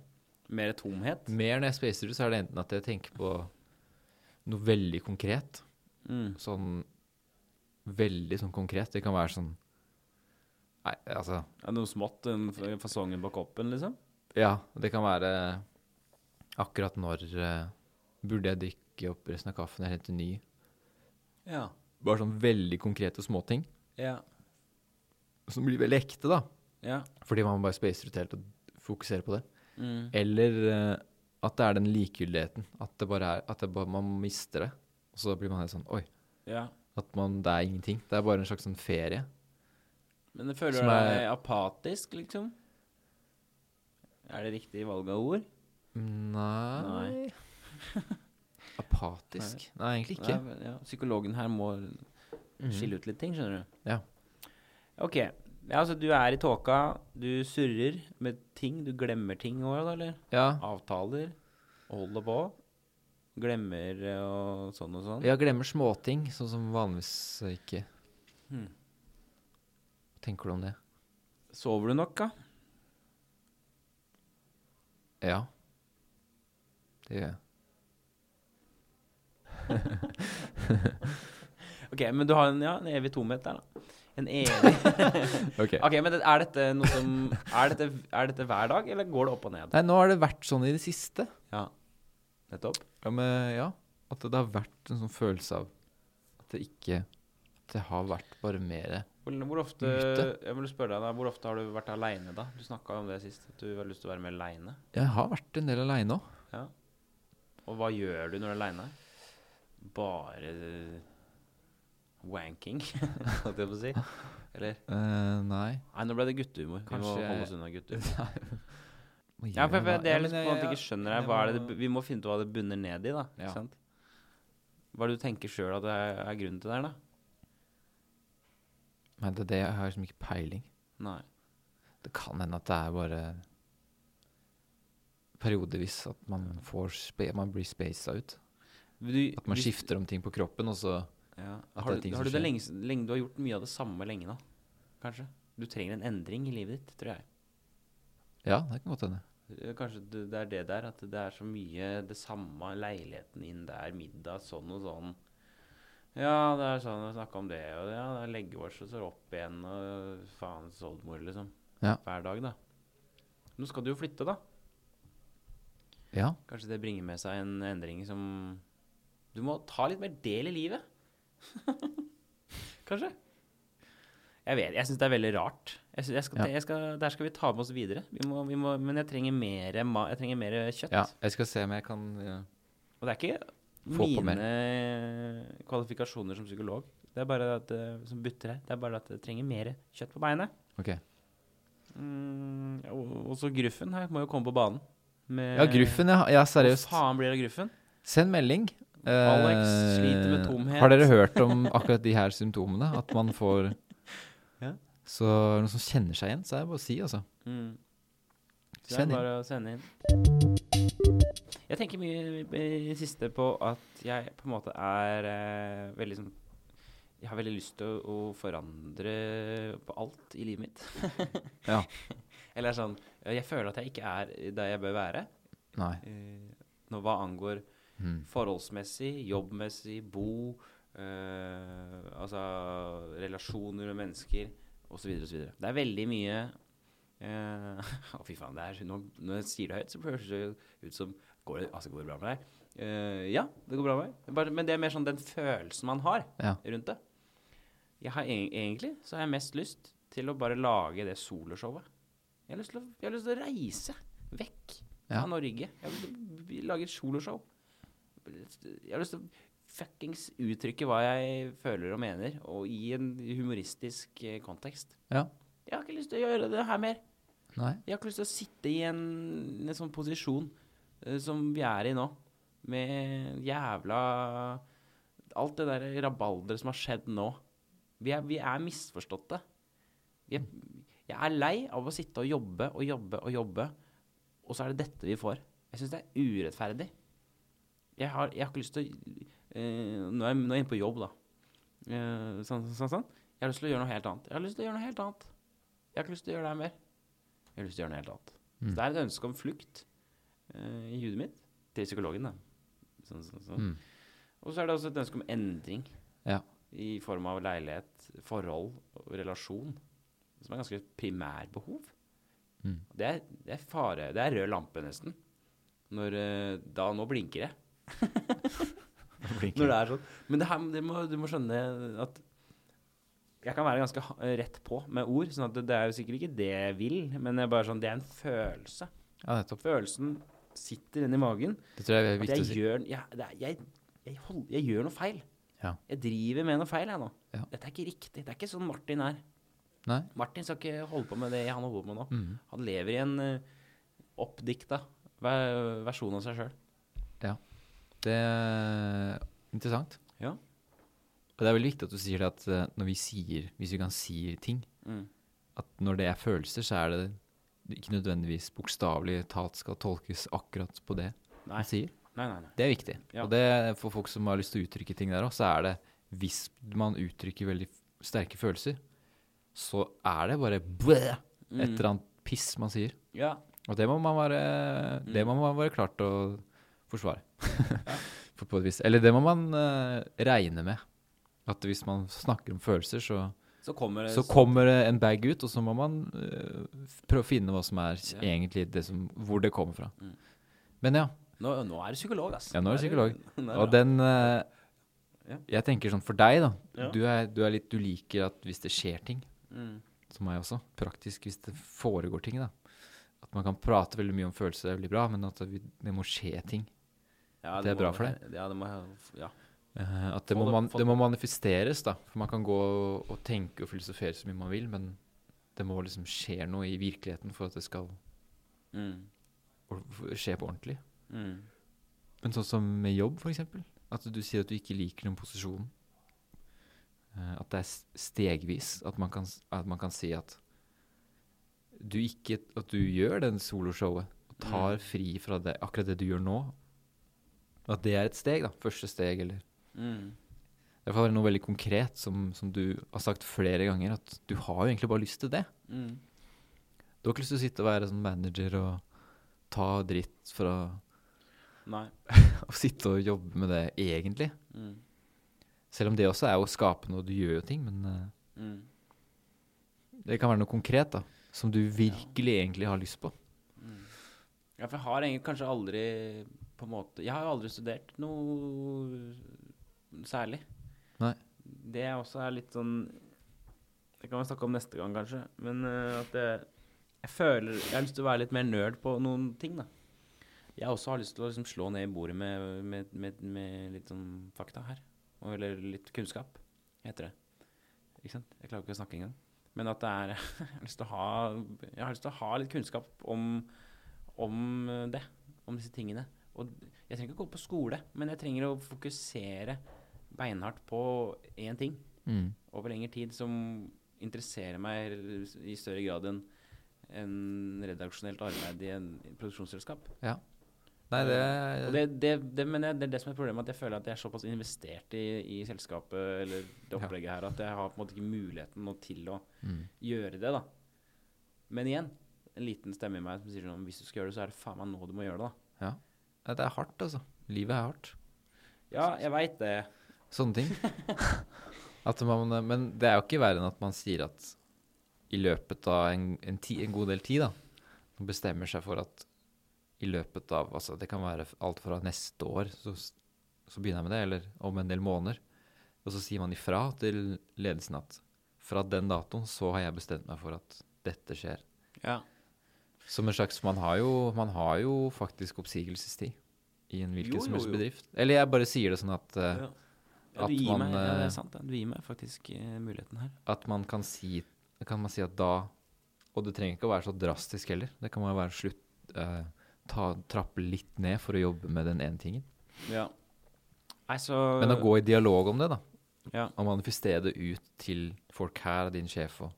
Speaker 1: Mer tomhet?
Speaker 2: Mer når jeg spacer ut, så er det enten at jeg tenker på noe veldig konkret.
Speaker 1: Mm.
Speaker 2: Sånn veldig sånn konkret. Det kan være sånn Nei, altså
Speaker 1: Er det noe smått, den f- fasongen på koppen, liksom?
Speaker 2: Ja, det kan være akkurat når eh, Burde jeg drikke opp resten av kaffen? Jeg er helt ny.
Speaker 1: Ja.
Speaker 2: bare sånn veldig konkrete småting
Speaker 1: Ja.
Speaker 2: som blir veldig ekte, da.
Speaker 1: Ja.
Speaker 2: Fordi man bare spacer ut helt og fokuserer på det.
Speaker 1: Mm.
Speaker 2: Eller eh, at det er den likegyldigheten. At, det bare er, at det bare, man mister det. Og så blir man helt sånn Oi.
Speaker 1: ja.
Speaker 2: At man, det er ingenting. Det er bare en slags sånn ferie.
Speaker 1: Men det føler
Speaker 2: Som
Speaker 1: du
Speaker 2: er-
Speaker 1: deg apatisk, liksom? Er det riktig valg av ord?
Speaker 2: Nei, Apatisk? Nei, egentlig ikke. Mhm.
Speaker 1: Nei, ja. Psykologen her må skille ut litt ting, skjønner du.
Speaker 2: Ja.
Speaker 1: Ok. Ja, altså, du er i tåka, du surrer med ting, du glemmer ting òg, da, eller?
Speaker 2: Ja.
Speaker 1: Avtaler, holder på, glemmer eh, og sånn og sånn.
Speaker 2: Jeg glemmer småting, sånn som vanligvis ikke.
Speaker 1: Hmm.
Speaker 2: Tenker du om det?
Speaker 1: Sover du nok, da?
Speaker 2: Ja. Det gjør jeg.
Speaker 1: Ok, men du har en, ja, en evig tomhet der, da.
Speaker 2: [laughs]
Speaker 1: En evig
Speaker 2: Ok.
Speaker 1: Ok, men det, er dette noe som er dette, er dette hver dag, eller går det opp og ned?
Speaker 2: Nei, nå har det vært sånn i det siste.
Speaker 1: Ja. Nettopp.
Speaker 2: Ja, men ja. At det har vært en sånn følelse av at det ikke At det har vært bare mer
Speaker 1: Hvor, hvor ofte
Speaker 2: Ute.
Speaker 1: Jeg vil spørre deg da, hvor ofte har du vært aleine, da? Du snakka om det sist, at du har lyst til å være mer aleine.
Speaker 2: Jeg har vært en del aleine òg.
Speaker 1: Ja. Og hva gjør du når du er aleine? Bare eh, wanking, [laughs] holdt jeg på å [laughs] si. Eller
Speaker 2: Eh, nei.
Speaker 1: Nei, nå ble det guttehumor. Vi må
Speaker 2: Kanskje-
Speaker 1: holde oss unna gutter.
Speaker 2: Hva
Speaker 1: [laughs] Ja,
Speaker 2: gjør
Speaker 1: for,
Speaker 2: jeg da?
Speaker 1: for det
Speaker 2: Ja,
Speaker 1: er
Speaker 2: men
Speaker 1: liksom
Speaker 2: jeg-
Speaker 1: på en måte
Speaker 2: jeg-
Speaker 1: ikke skjønner her.
Speaker 2: jeg
Speaker 1: Hva er det,
Speaker 2: må-
Speaker 1: det bu- vi må finne ut hva det bunner ned i, da.
Speaker 2: Ja.
Speaker 1: Ikke sant? Hva er det du tenker sjøl at det er, er grunnen til det her, da?
Speaker 2: Nei, det er det jeg har liksom ikke peiling.
Speaker 1: Nei.
Speaker 2: Det kan hende at det er bare periodevis at man, får spe man blir spasa ut.
Speaker 1: Du,
Speaker 2: At man
Speaker 1: du-
Speaker 2: skifter om ting på kroppen, og så
Speaker 1: Ja.
Speaker 2: At
Speaker 1: Har,
Speaker 2: det er
Speaker 1: du,
Speaker 2: ting som
Speaker 1: har du det
Speaker 2: skjer.
Speaker 1: lenge, lenge Du har gjort mye av det samme lenge nå, kanskje? Du trenger en endring i livet ditt, tror jeg.
Speaker 2: Ja, det kan godt hende.
Speaker 1: Eh, Kanskje det, det er det der, at det er så mye det samme leiligheten inn der, middag, sånn og sånn. Ja, det er sånn å snakke om det, og ja, det er leggevårs, og så opp igjen, og faen, oldemor, liksom.
Speaker 2: Ja.
Speaker 1: Hver dag, da. Nå skal du jo flytte, da.
Speaker 2: Ja.
Speaker 1: Kanskje det bringer med seg en endring som Du må ta litt mer del i livet. [laughs] Kanskje. Jeg vet, jeg syns det er veldig rart. Jeg synes, jeg skal,
Speaker 2: Ja.
Speaker 1: jeg skal, der skal vi ta med oss videre. Vi må, vi må, men jeg trenger mer, ma- jeg trenger mer kjøtt.
Speaker 2: ja. Jeg skal se om jeg kan ja.
Speaker 1: Og det er ikke
Speaker 2: Få på
Speaker 1: mine eh, kvalifikasjoner som psykolog Det er bare at, eh, som butter her. Det er bare at jeg trenger mer kjøtt på beinet.
Speaker 2: OK.
Speaker 1: Mm, og, også Gruffen her må jo komme på banen. Med,
Speaker 2: Ja, Gruffen, ja. ja seriøst.
Speaker 1: Hva faen blir det av Gruffen?
Speaker 2: Send melding. Eh,
Speaker 1: Alex sliter med tomhet.
Speaker 2: Har dere hørt om akkurat de her symptomene? At man får [laughs]
Speaker 1: Ja.
Speaker 2: Så er det noen som kjenner seg igjen, så er det bare å si, altså.
Speaker 1: Mm. Så
Speaker 2: Send
Speaker 1: det er
Speaker 2: inn.
Speaker 1: bare å sende inn. Jeg tenker mye i det siste på at jeg på en måte er eh, veldig sånn Jeg har veldig lyst til å, å forandre på alt i livet mitt.
Speaker 2: Ja.
Speaker 1: [laughs] Eller sånn Jeg føler at jeg ikke er der jeg bør være.
Speaker 2: Nei.
Speaker 1: eh, Nå hva angår
Speaker 2: Mm.
Speaker 1: forholdsmessig, jobbmessig, bo eh, Altså relasjoner med mennesker osv. osv. Det er veldig mye eh, [laughs] Å, fy faen. det er, nå, når jeg sier det høyt, så høres det jo ut som går det, altså, går det bra med deg? Eh, ja, det går bra med meg. Bare, men det er mer sånn den følelsen man har
Speaker 2: Ja.
Speaker 1: rundt det. Jeg har, egen- egentlig så har jeg mest lyst til å bare lage det soloshowet. Jeg har lyst til å, jeg har lyst til å reise vekk
Speaker 2: Ja.
Speaker 1: av Norge. Jeg har lyst til å b- lage et soloshow. Jeg har lyst til å fuckings uttrykke hva jeg føler og mener, og i en humoristisk eh, kontekst.
Speaker 2: Ja.
Speaker 1: Jeg har ikke lyst til å gjøre det her mer.
Speaker 2: Nei.
Speaker 1: Jeg har ikke lyst til å sitte i en, en sånn posisjon eh, som vi er i nå, med jævla Alt det der rabalderet som har skjedd nå. Vi er, vi er misforståtte. Vi er, jeg er lei av å sitte og jobbe og jobbe og jobbe, og så er det dette vi får. Jeg syns det er urettferdig. Jeg har, jeg har ikke lyst til å eh, nå, er jeg, nå er jeg inne på jobb, da. Eh, sånn, sånn, sånn. Jeg har lyst til å gjøre noe helt annet. Jeg har lyst til å gjøre noe helt annet. Jeg har ikke lyst til å gjøre det her mer. Jeg har lyst til å gjøre noe helt annet. Så
Speaker 2: Mm.
Speaker 1: det er et ønske om flukt eh, i hudet mitt. Til psykologen, da. Sånn, sånn, sånn.
Speaker 2: Mm.
Speaker 1: Og så er det også et ønske om endring.
Speaker 2: Ja.
Speaker 1: I form av leilighet, forhold og relasjon. Som er ganske primærbehov.
Speaker 2: Mm.
Speaker 1: Det, er, det er fare Det er rød lampe, nesten. Når eh, Da, [laughs] nå blinker det. Når det er sånn. Men det her, du, må, du må skjønne at jeg kan være ganske ha- rett på med ord. sånn at det, det er jo sikkert ikke det jeg vil, men det er bare sånn, det er en følelse.
Speaker 2: Ja, nettopp.
Speaker 1: Følelsen sitter inni magen.
Speaker 2: Det tror jeg er
Speaker 1: At
Speaker 2: viktig
Speaker 1: jeg,
Speaker 2: å si.
Speaker 1: gjør, jeg, det er, jeg, jeg, hold, jeg gjør noe feil.
Speaker 2: Ja.
Speaker 1: Jeg driver med noe feil jeg nå.
Speaker 2: Ja.
Speaker 1: Dette er ikke riktig. Det er ikke sånn Martin er.
Speaker 2: Nei?
Speaker 1: Martin skal ikke holde på med det han holder på med nå.
Speaker 2: Mhm.
Speaker 1: Han lever i en eh, oppdikta ver- versjon av seg sjøl.
Speaker 2: Det er interessant.
Speaker 1: Ja.
Speaker 2: Og det er veldig viktig at du sier det at eh, når vi sier, hvis vi kan si ting,
Speaker 1: Mm.
Speaker 2: at når det er følelser, så er det ikke nødvendigvis bokstavelig talt skal tolkes akkurat på det
Speaker 1: Nei.
Speaker 2: man sier.
Speaker 1: Nei, nei, nei.
Speaker 2: Det er viktig.
Speaker 1: Ja.
Speaker 2: Og det for folk som har lyst til å uttrykke ting der òg, så er det hvis man uttrykker veldig sterke følelser, så er det bare blæ, et
Speaker 1: Mm.
Speaker 2: eller annet piss man sier.
Speaker 1: Ja.
Speaker 2: Og det må man være, det
Speaker 1: Mm.
Speaker 2: må man være klar til å forsvare. For [laughs] på et vis. Eller det må man eh, regne med. At hvis man snakker om følelser, så,
Speaker 1: Så kommer det
Speaker 2: så kommer det en bag ut, og så må man eh, prøve å finne hva som er
Speaker 1: Ja.
Speaker 2: egentlig det som, hvor det kommer fra.
Speaker 1: Mm.
Speaker 2: Men ja,
Speaker 1: Nå, nå er du psykolog, ass.
Speaker 2: Ja, nå er du
Speaker 1: [laughs] Nå er
Speaker 2: og
Speaker 1: det-
Speaker 2: den eh,
Speaker 1: Ja.
Speaker 2: Jeg tenker sånn for deg, da.
Speaker 1: Ja.
Speaker 2: Du, er, du er litt Du liker at hvis det skjer ting,
Speaker 1: Mm.
Speaker 2: som meg også, praktisk hvis det foregår ting, da. At man kan prate veldig mye om følelser, det er veldig bra, men at vi, det må skje ting.
Speaker 1: Ja,
Speaker 2: Det er
Speaker 1: må
Speaker 2: bra for
Speaker 1: være- Ja, det må Ja.
Speaker 2: Eh, at det
Speaker 1: Få
Speaker 2: må,
Speaker 1: det-
Speaker 2: man,
Speaker 1: få det-
Speaker 2: det må manifesteres, da. For man kan gå og, og tenke og filosofere så mye man vil, men det må liksom skje noe i virkeligheten for at det skal
Speaker 1: Mm.
Speaker 2: or- for- skje på ordentlig.
Speaker 1: Mm.
Speaker 2: Men sånn som med jobb, for eksempel. At du sier at du ikke liker den posisjonen. Eh, At det er s- stegvis. At man kan, s- at man kan si at du ikke At du gjør den soloshowet. Og
Speaker 1: Mm.
Speaker 2: tar fri fra det, akkurat det du gjør nå. At det er et steg, da. Første steg, eller
Speaker 1: Mm.
Speaker 2: Det er i hvert fall noe veldig konkret som, som du har sagt flere ganger, at du har jo egentlig bare lyst til det.
Speaker 1: Mm.
Speaker 2: Du har ikke lyst til å sitte og være sånn manager og ta dritt fra
Speaker 1: Nei.
Speaker 2: [laughs] å sitte og jobbe med det, egentlig.
Speaker 1: Mm.
Speaker 2: Selv om det også er jo skapende, og du gjør jo ting, men eh,
Speaker 1: Mm.
Speaker 2: det kan være noe konkret, da. Som du virkelig egentlig har lyst på.
Speaker 1: Ja, for jeg har egentlig kanskje aldri på en måte Jeg har jo aldri studert noe særlig.
Speaker 2: Nei.
Speaker 1: Det er også er litt sånn Det kan vi snakke om neste gang, kanskje. Men eh, at det Jeg føler Jeg har lyst til å være litt mer nerd på noen ting, da. Jeg også har lyst til å liksom slå ned i bordet med, med, med, med litt sånn fakta her. Og- Eller litt kunnskap, heter det. Ikke sant? Jeg klarer ikke å snakke engang. Men at det er [laughs] Jeg har lyst til å ha, jeg har lyst til å ha litt kunnskap om, om eh, det. Om disse tingene. Og jeg trenger ikke å gå på skole, men jeg trenger å fokusere beinhardt på én ting
Speaker 2: Mm.
Speaker 1: over lengre tid som interesserer meg i større grad enn enn redaksjonelt arbeid i en produksjonsselskap.
Speaker 2: Nei, det,
Speaker 1: Og det, det, det, men jeg, det er det som er problemet, at jeg føler at jeg er såpass investert i, i selskapet eller det
Speaker 2: Ja.
Speaker 1: opplegget her, at jeg har på en måte ikke muligheten nå til å
Speaker 2: Mm.
Speaker 1: gjøre det, da. Men igjen, en liten stemme i meg som sier sånn Hvis du skal gjøre det, så er det faen meg nå du må gjøre det, da.
Speaker 2: Nei, det er hardt, altså. Livet er hardt.
Speaker 1: Ja, jeg veit det.
Speaker 2: Sånne ting. [laughs] at man, men det er jo ikke verre enn at man sier at i løpet av en, en, ti, en god del tid, da, man bestemmer seg for at i løpet av altså Det kan være alt fra neste år, så, s- så begynner jeg med det, eller om en del måneder. Og så sier man ifra til ledelsen at fra den datoen så har jeg bestemt meg for at dette skjer.
Speaker 1: Ja.
Speaker 2: Som en slags Man har jo, man har jo faktisk oppsigelsestid i en hvilken
Speaker 1: Jo,
Speaker 2: som
Speaker 1: jo,
Speaker 2: helst
Speaker 1: jo.
Speaker 2: bedrift. Eller jeg bare sier det sånn at eh,
Speaker 1: ja. ja
Speaker 2: at
Speaker 1: du gir
Speaker 2: man,
Speaker 1: meg, ja, det
Speaker 2: eh,
Speaker 1: er sant. Ja. Du gir meg faktisk eh, muligheten her.
Speaker 2: at man kan si, kan man si at da Og det trenger ikke å være så drastisk heller. Det kan bare være slutt eh, ta, Trappe litt ned for å jobbe med den ene tingen.
Speaker 1: Ja. Nei, så
Speaker 2: Men å gå i dialog om det, da.
Speaker 1: Ja.
Speaker 2: Og manifestere det ut til folk her, din sjef, og,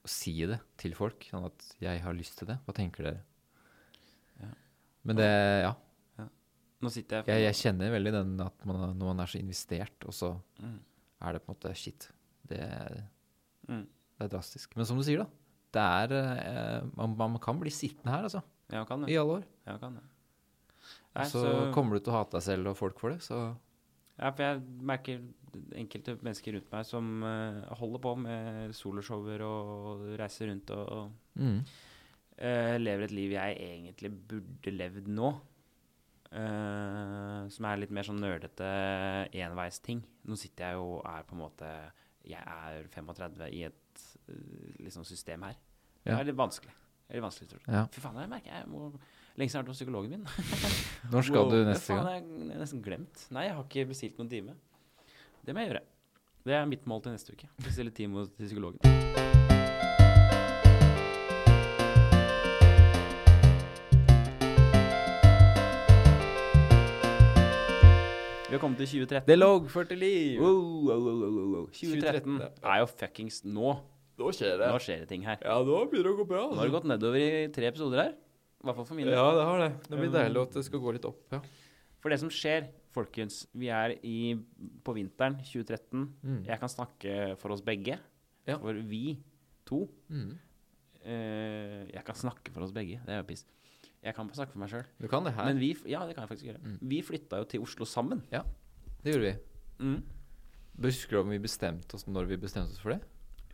Speaker 2: og si det til folk. Sånn at 'jeg har lyst til det', hva tenker dere?
Speaker 1: Ja.
Speaker 2: Men det Ja.
Speaker 1: Nå sitter jeg
Speaker 2: Jeg, jeg kjenner veldig den at man, når man er så investert, og så
Speaker 1: Mm.
Speaker 2: er det på en måte shit. Det er,
Speaker 1: Mm.
Speaker 2: det er drastisk. Men som du sier, da. Det er eh, man, man kan bli sittende her, altså.
Speaker 1: Ja, kan det.
Speaker 2: I alle år.
Speaker 1: Ja, kan det.
Speaker 2: Og
Speaker 1: Nei,
Speaker 2: så kommer du til å hate deg selv og folk for det, så
Speaker 1: Ja, for jeg merker enkelte mennesker rundt meg som eh, holder på med soloshower og reiser rundt og, og
Speaker 2: mm.
Speaker 1: eh, lever et liv jeg egentlig burde levd nå. Eh, som er litt mer sånn nerdete enveisting. Nå sitter jeg jo og er på en måte Jeg er 35 i et eh, liksom system her. Det
Speaker 2: Ja.
Speaker 1: er litt vanskelig. Det er litt vanskelig, tror jeg.
Speaker 2: Ja.
Speaker 1: Fy faen, jeg merker jeg må Lenge siden jeg har vært hos psykologen min.
Speaker 2: Når skal
Speaker 1: Wow,
Speaker 2: du
Speaker 1: det
Speaker 2: neste
Speaker 1: faen,
Speaker 2: gang?
Speaker 1: Jeg har nesten glemt. Nei, jeg har ikke bestilt noen time. Det må jeg gjøre. Det er mitt mål til neste uke. Bestille time hos til psykologen. Vi har kommet til 2013.
Speaker 2: Det loggførte liv!
Speaker 1: Wow, wow, wow, wow, wow, wow. 2013
Speaker 2: 2013.
Speaker 1: er jo fuckings nå.
Speaker 2: Nå skjer
Speaker 1: Nå skjer det ting her.
Speaker 2: Ja, nå begynner det å gå bra.
Speaker 1: Nå har det gått nedover i tre episoder her. I hvert fall for min del.
Speaker 2: Ja, det har det. Det blir
Speaker 1: Um,
Speaker 2: deilig at det skal gå litt opp, ja.
Speaker 1: For det som skjer, folkens Vi er i, på vinteren 2013.
Speaker 2: Mm.
Speaker 1: Jeg kan snakke for oss begge.
Speaker 2: Ja.
Speaker 1: For vi to.
Speaker 2: Mm.
Speaker 1: Eh, jeg kan snakke for oss begge. Det er jo piss. Jeg kan bare snakke for meg sjøl.
Speaker 2: Du kan det her.
Speaker 1: Men vi f- Ja, det kan jeg faktisk
Speaker 2: Mm.
Speaker 1: gjøre. Vi flytta jo til Oslo sammen.
Speaker 2: Det gjorde vi.
Speaker 1: Mm.
Speaker 2: Husker du om vi bestemte oss når vi bestemte oss for det?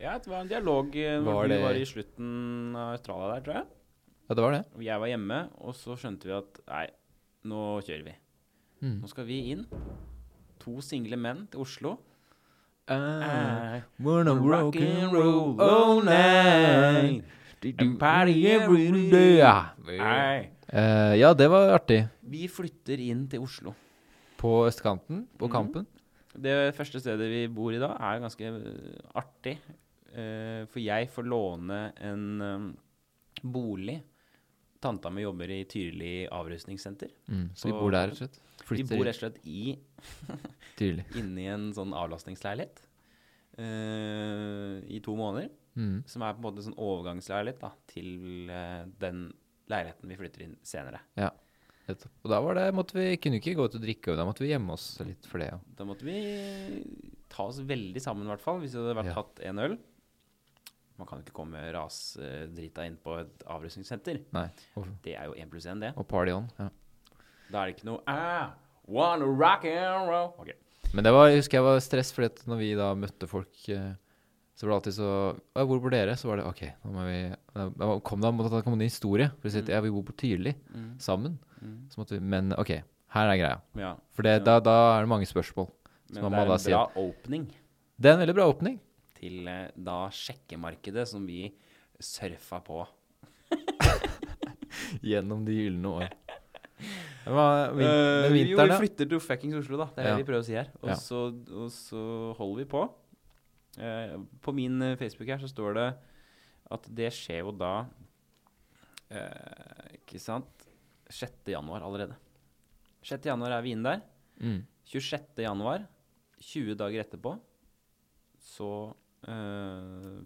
Speaker 1: Ja, det var en dialog eh,
Speaker 2: Var
Speaker 1: hvor vi
Speaker 2: det-
Speaker 1: var i slutten av Australia der, tror jeg.
Speaker 2: Ja, det var det.
Speaker 1: Og Jeg var hjemme, og så skjønte vi at nei, nå kjører vi.
Speaker 2: Mm.
Speaker 1: Nå skal vi inn. To single menn til Oslo.
Speaker 2: Mm.
Speaker 1: Eh,
Speaker 2: We're on Uh, rock and roll all night.
Speaker 1: And party every day. Nei.
Speaker 2: Eh, ja, det var artig.
Speaker 1: Vi flytter inn til Oslo.
Speaker 2: På østkanten, på
Speaker 1: Mhm.
Speaker 2: Kampen.
Speaker 1: Det første stedet vi bor i da, er ganske øh, artig. Eh, for jeg får låne en øhm, bolig. Tanta mi jobber i Tyrili avrusningssenter.
Speaker 2: Mm, så vi
Speaker 1: På-
Speaker 2: bor der, rett og slett.
Speaker 1: Vi
Speaker 2: Flytter
Speaker 1: bor
Speaker 2: bor
Speaker 1: rett og slett i,
Speaker 2: tydelig.
Speaker 1: inni en sånn avlastningsleilighet eh, i to måneder.
Speaker 2: Mm.
Speaker 1: Som er på en måte en sånn overgangsleilighet da, til eh, den leiligheten vi flytter inn senere.
Speaker 2: Nettopp. Og da var det, måtte vi, kunne vi ikke gå ut og drikke, og da måtte vi gjemme oss litt for det. Ja.
Speaker 1: Da måtte vi ta oss veldig sammen, i hvert fall, hvis vi hadde vært
Speaker 2: Ja.
Speaker 1: tatt en øl. Man kan ikke komme rasdrita inn på et avrusningssenter.
Speaker 2: Nei. Og,
Speaker 1: Det er jo én pluss én, det.
Speaker 2: og party on. Ja.
Speaker 1: Da er det ikke noe ah, wanna rock and roll. Ok.
Speaker 2: Men det var, jeg husker jeg var stress, fordi at når vi da møtte folk, eh, så var det alltid så «Å, 'Hvor bor dere?' Så var det OK, nå må vi da- da kom det, måtte, da kom det en historie. For å si at ja, vi bor på Tyrili
Speaker 1: Mm.
Speaker 2: sammen.
Speaker 1: Mm.
Speaker 2: Så måtte vi, men OK, her er greia.
Speaker 1: Ja.
Speaker 2: For det, da, da er det mange spørsmål.
Speaker 1: Men
Speaker 2: man
Speaker 1: det
Speaker 2: må
Speaker 1: er
Speaker 2: da
Speaker 1: en
Speaker 2: si
Speaker 1: bra åpning
Speaker 2: Det er en veldig bra åpning.
Speaker 1: til eh, da sjekkemarkedet som vi surfa på.
Speaker 2: Gjennom de gylne år. Det var vin
Speaker 1: Eh,
Speaker 2: men
Speaker 1: vi- jo,
Speaker 2: vinteren,
Speaker 1: vi
Speaker 2: ja.
Speaker 1: flytter til fuckings Oslo, da. Det er
Speaker 2: Ja.
Speaker 1: det vi prøver å si her. Og,
Speaker 2: Ja.
Speaker 1: så, og så holder vi på. Eh, på min eh, Facebook her så står det at det skjer jo da eh, Ikke sant 6. januar allerede. 6. januar er vi inne der.
Speaker 2: Mm.
Speaker 1: 26. januar, 20 dager etterpå, så eh,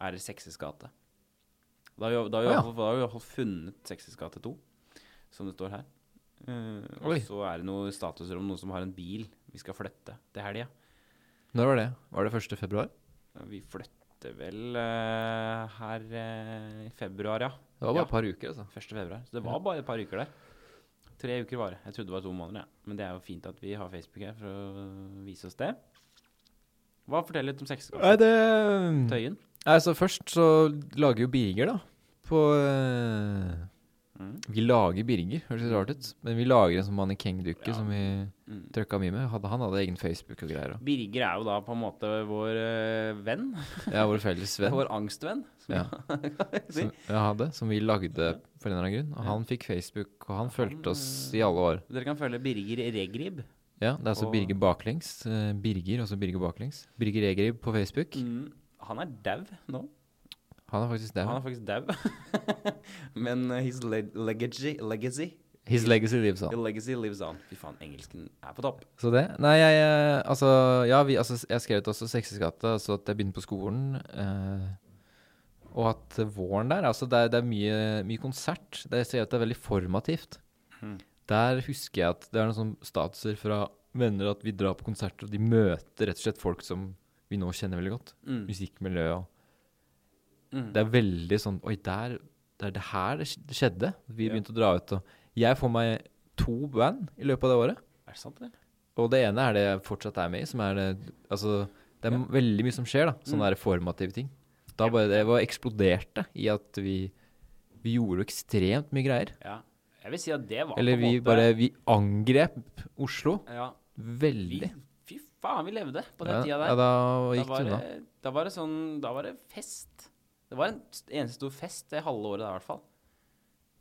Speaker 1: er det Sexes gate. Da har vi, da har vi,
Speaker 2: Å,
Speaker 1: i
Speaker 2: ja.
Speaker 1: hvert fall- da har vi i hvert fall funnet Sexes gate 2, som det står her. Eh, og
Speaker 2: Oi.
Speaker 1: så er det noe statusrom, noen som har en bil vi skal flytte til helga.
Speaker 2: Når var det? Var det 1. februar?
Speaker 1: Vi flytter vel eh, her eh, i februar, ja.
Speaker 2: Det var bare
Speaker 1: Ja.
Speaker 2: et par uker, altså.
Speaker 1: 1. februar. Så det var bare et par uker der. Tre uker var det. Jeg trodde det var to måneder, jeg. Men det er jo fint at vi har Facebook her for å vise oss det. Hva forteller litt om
Speaker 2: Nei,
Speaker 1: sexskapet?
Speaker 2: det
Speaker 1: Tøyen?
Speaker 2: Nei, så først så lager jo Birger, da. På eh,
Speaker 1: Mm.
Speaker 2: Vi lager Birger, høres litt rart ut. Men vi lager en sånn mannekengdukke
Speaker 1: Ja.
Speaker 2: som vi
Speaker 1: Mm.
Speaker 2: trøkka mye med. Hadde, han hadde egen Facebook og greier. Og.
Speaker 1: Birger er jo da på en måte vår eh, venn.
Speaker 2: Ja, vår
Speaker 1: [laughs]
Speaker 2: felles venn
Speaker 1: Vår angstvenn. som
Speaker 2: Ja.
Speaker 1: jeg [laughs] kan si.
Speaker 2: som jeg hadde, som vi lagde for en eller annen grunn. Og
Speaker 1: Ja.
Speaker 2: han fikk Facebook, og han fulgte oss
Speaker 1: eh,
Speaker 2: i alle år.
Speaker 1: Dere kan følge Birger Regrib.
Speaker 2: Ja, det er altså
Speaker 1: og-
Speaker 2: Birger baklengs. eh, Birger, altså Birger baklengs. Birger Egrib på Facebook.
Speaker 1: Mm. Han er dau nå.
Speaker 2: Han er faktisk
Speaker 1: Han
Speaker 2: der.
Speaker 1: er faktisk dau. [laughs] Men eh, his le legacy, legacy,
Speaker 2: His legacy lives on.
Speaker 1: legacy lives on. Fy faen, engelsken er på topp.
Speaker 2: Så det? Nei, jeg eh, Altså, ja, vi, altså, jeg skrev ut også Seksesgata, altså at jeg begynner på skolen. Eh, og at våren der Altså, det er, det er mye, mye konsert. Det jeg ser at det er veldig formativt.
Speaker 1: Mhm.
Speaker 2: Der husker jeg at det er noen sånn statuser fra venner at vi drar på konserter, og de møter rett og slett folk som vi nå kjenner veldig godt.
Speaker 1: Mm.
Speaker 2: Musikkmiljø og
Speaker 1: Mm.
Speaker 2: Det er veldig sånn Oi, der det er det her det sk- det skjedde. Vi
Speaker 1: Ja.
Speaker 2: begynte å dra ut og Jeg får meg to band i løpet av det året.
Speaker 1: Er det sant, eller?
Speaker 2: Og det ene er det jeg fortsatt er med i, som er det Altså, det er
Speaker 1: Ja. Mm.
Speaker 2: veldig mye som skjer, da. Sånne der formative ting. Da bare Det var eksploderte i at vi Vi gjorde ekstremt mye greier.
Speaker 1: Ja. Jeg vil si at det var
Speaker 2: Eller
Speaker 1: på en
Speaker 2: vi
Speaker 1: måte
Speaker 2: bare Vi angrep Oslo
Speaker 1: ja, vi,
Speaker 2: veldig.
Speaker 1: Fy faen, vi levde på den
Speaker 2: Ja,
Speaker 1: tida der.
Speaker 2: ja, da
Speaker 1: da,
Speaker 2: gikk det
Speaker 1: var
Speaker 2: unna.
Speaker 1: det, da var det sånn Da var det fest. Det var en s- eneste stor fest det halve året der, i hvert fall.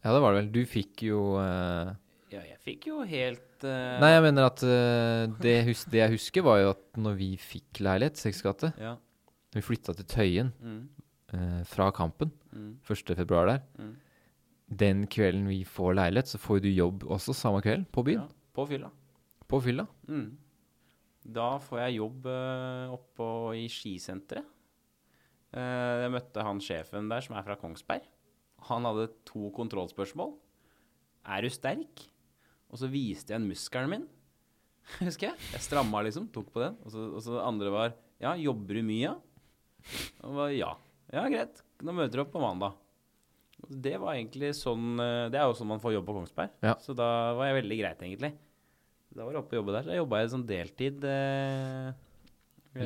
Speaker 2: Ja, det var det vel. Du fikk jo eh,
Speaker 1: Ja, jeg fikk jo helt eh,
Speaker 2: Nei, jeg mener at eh, det, hus det jeg husker, var jo at når vi fikk leilighet, Seks gate
Speaker 1: Ja.
Speaker 2: Når vi flytta til Tøyen
Speaker 1: Mm,
Speaker 2: eh, fra Kampen
Speaker 1: mm,
Speaker 2: 1. februar der
Speaker 1: Mm.
Speaker 2: Den kvelden vi får leilighet, så får du jobb også samme kveld, på byen.
Speaker 1: ja. På fylla.
Speaker 2: På fylla.
Speaker 1: Mm. Da får jeg jobb eh, oppå i skisenteret. Eh, jeg møtte han sjefen der som er fra Kongsberg. Han hadde to kontrollspørsmål. Er du sterk? Og så viste jeg muskelen min. [laughs] Husker jeg? Jeg stramma liksom, tok på den. Og så, og så det andre var Ja, jobber du mye? Og jeg var, ja. Ja, greit. Nå møter du opp på mandag. Og Det var egentlig sånn eh, Det er jo sånn man får jobb på Kongsberg.
Speaker 2: Ja.
Speaker 1: Så da var jeg veldig greit, egentlig. Da var jeg oppe og jobbe der. Da jobba jeg sånn deltid eh,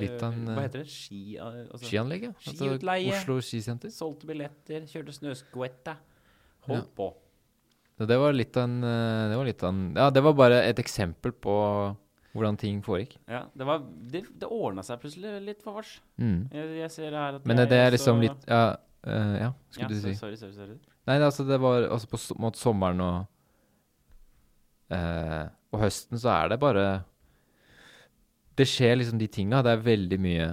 Speaker 2: Litt av en,
Speaker 1: Hva
Speaker 2: eh,
Speaker 1: heter det? Ski... eh, Altså,
Speaker 2: Skianlegget. Altså,
Speaker 1: Skiutleie.
Speaker 2: Oslo skisenter.
Speaker 1: Solgte billetter, kjørte snøskvetta. Holdt på.
Speaker 2: Så det var litt av en eh, Det var litt av en Ja, det var bare et eksempel på hvordan ting foregikk.
Speaker 1: Ja, det var- det, det ordna seg plutselig litt for oss.
Speaker 2: Mm.
Speaker 1: Jeg, jeg ser her at
Speaker 2: Men det, det er
Speaker 1: også-
Speaker 2: liksom litt Ja, eh, ja
Speaker 1: ja,
Speaker 2: skulle du
Speaker 1: så-
Speaker 2: si.
Speaker 1: Sorry, sorry, sorry.
Speaker 2: Nei, det, altså det var altså på so- måte sommeren og eh, Og høsten så er det bare Det skjer liksom de tinga. Det er veldig mye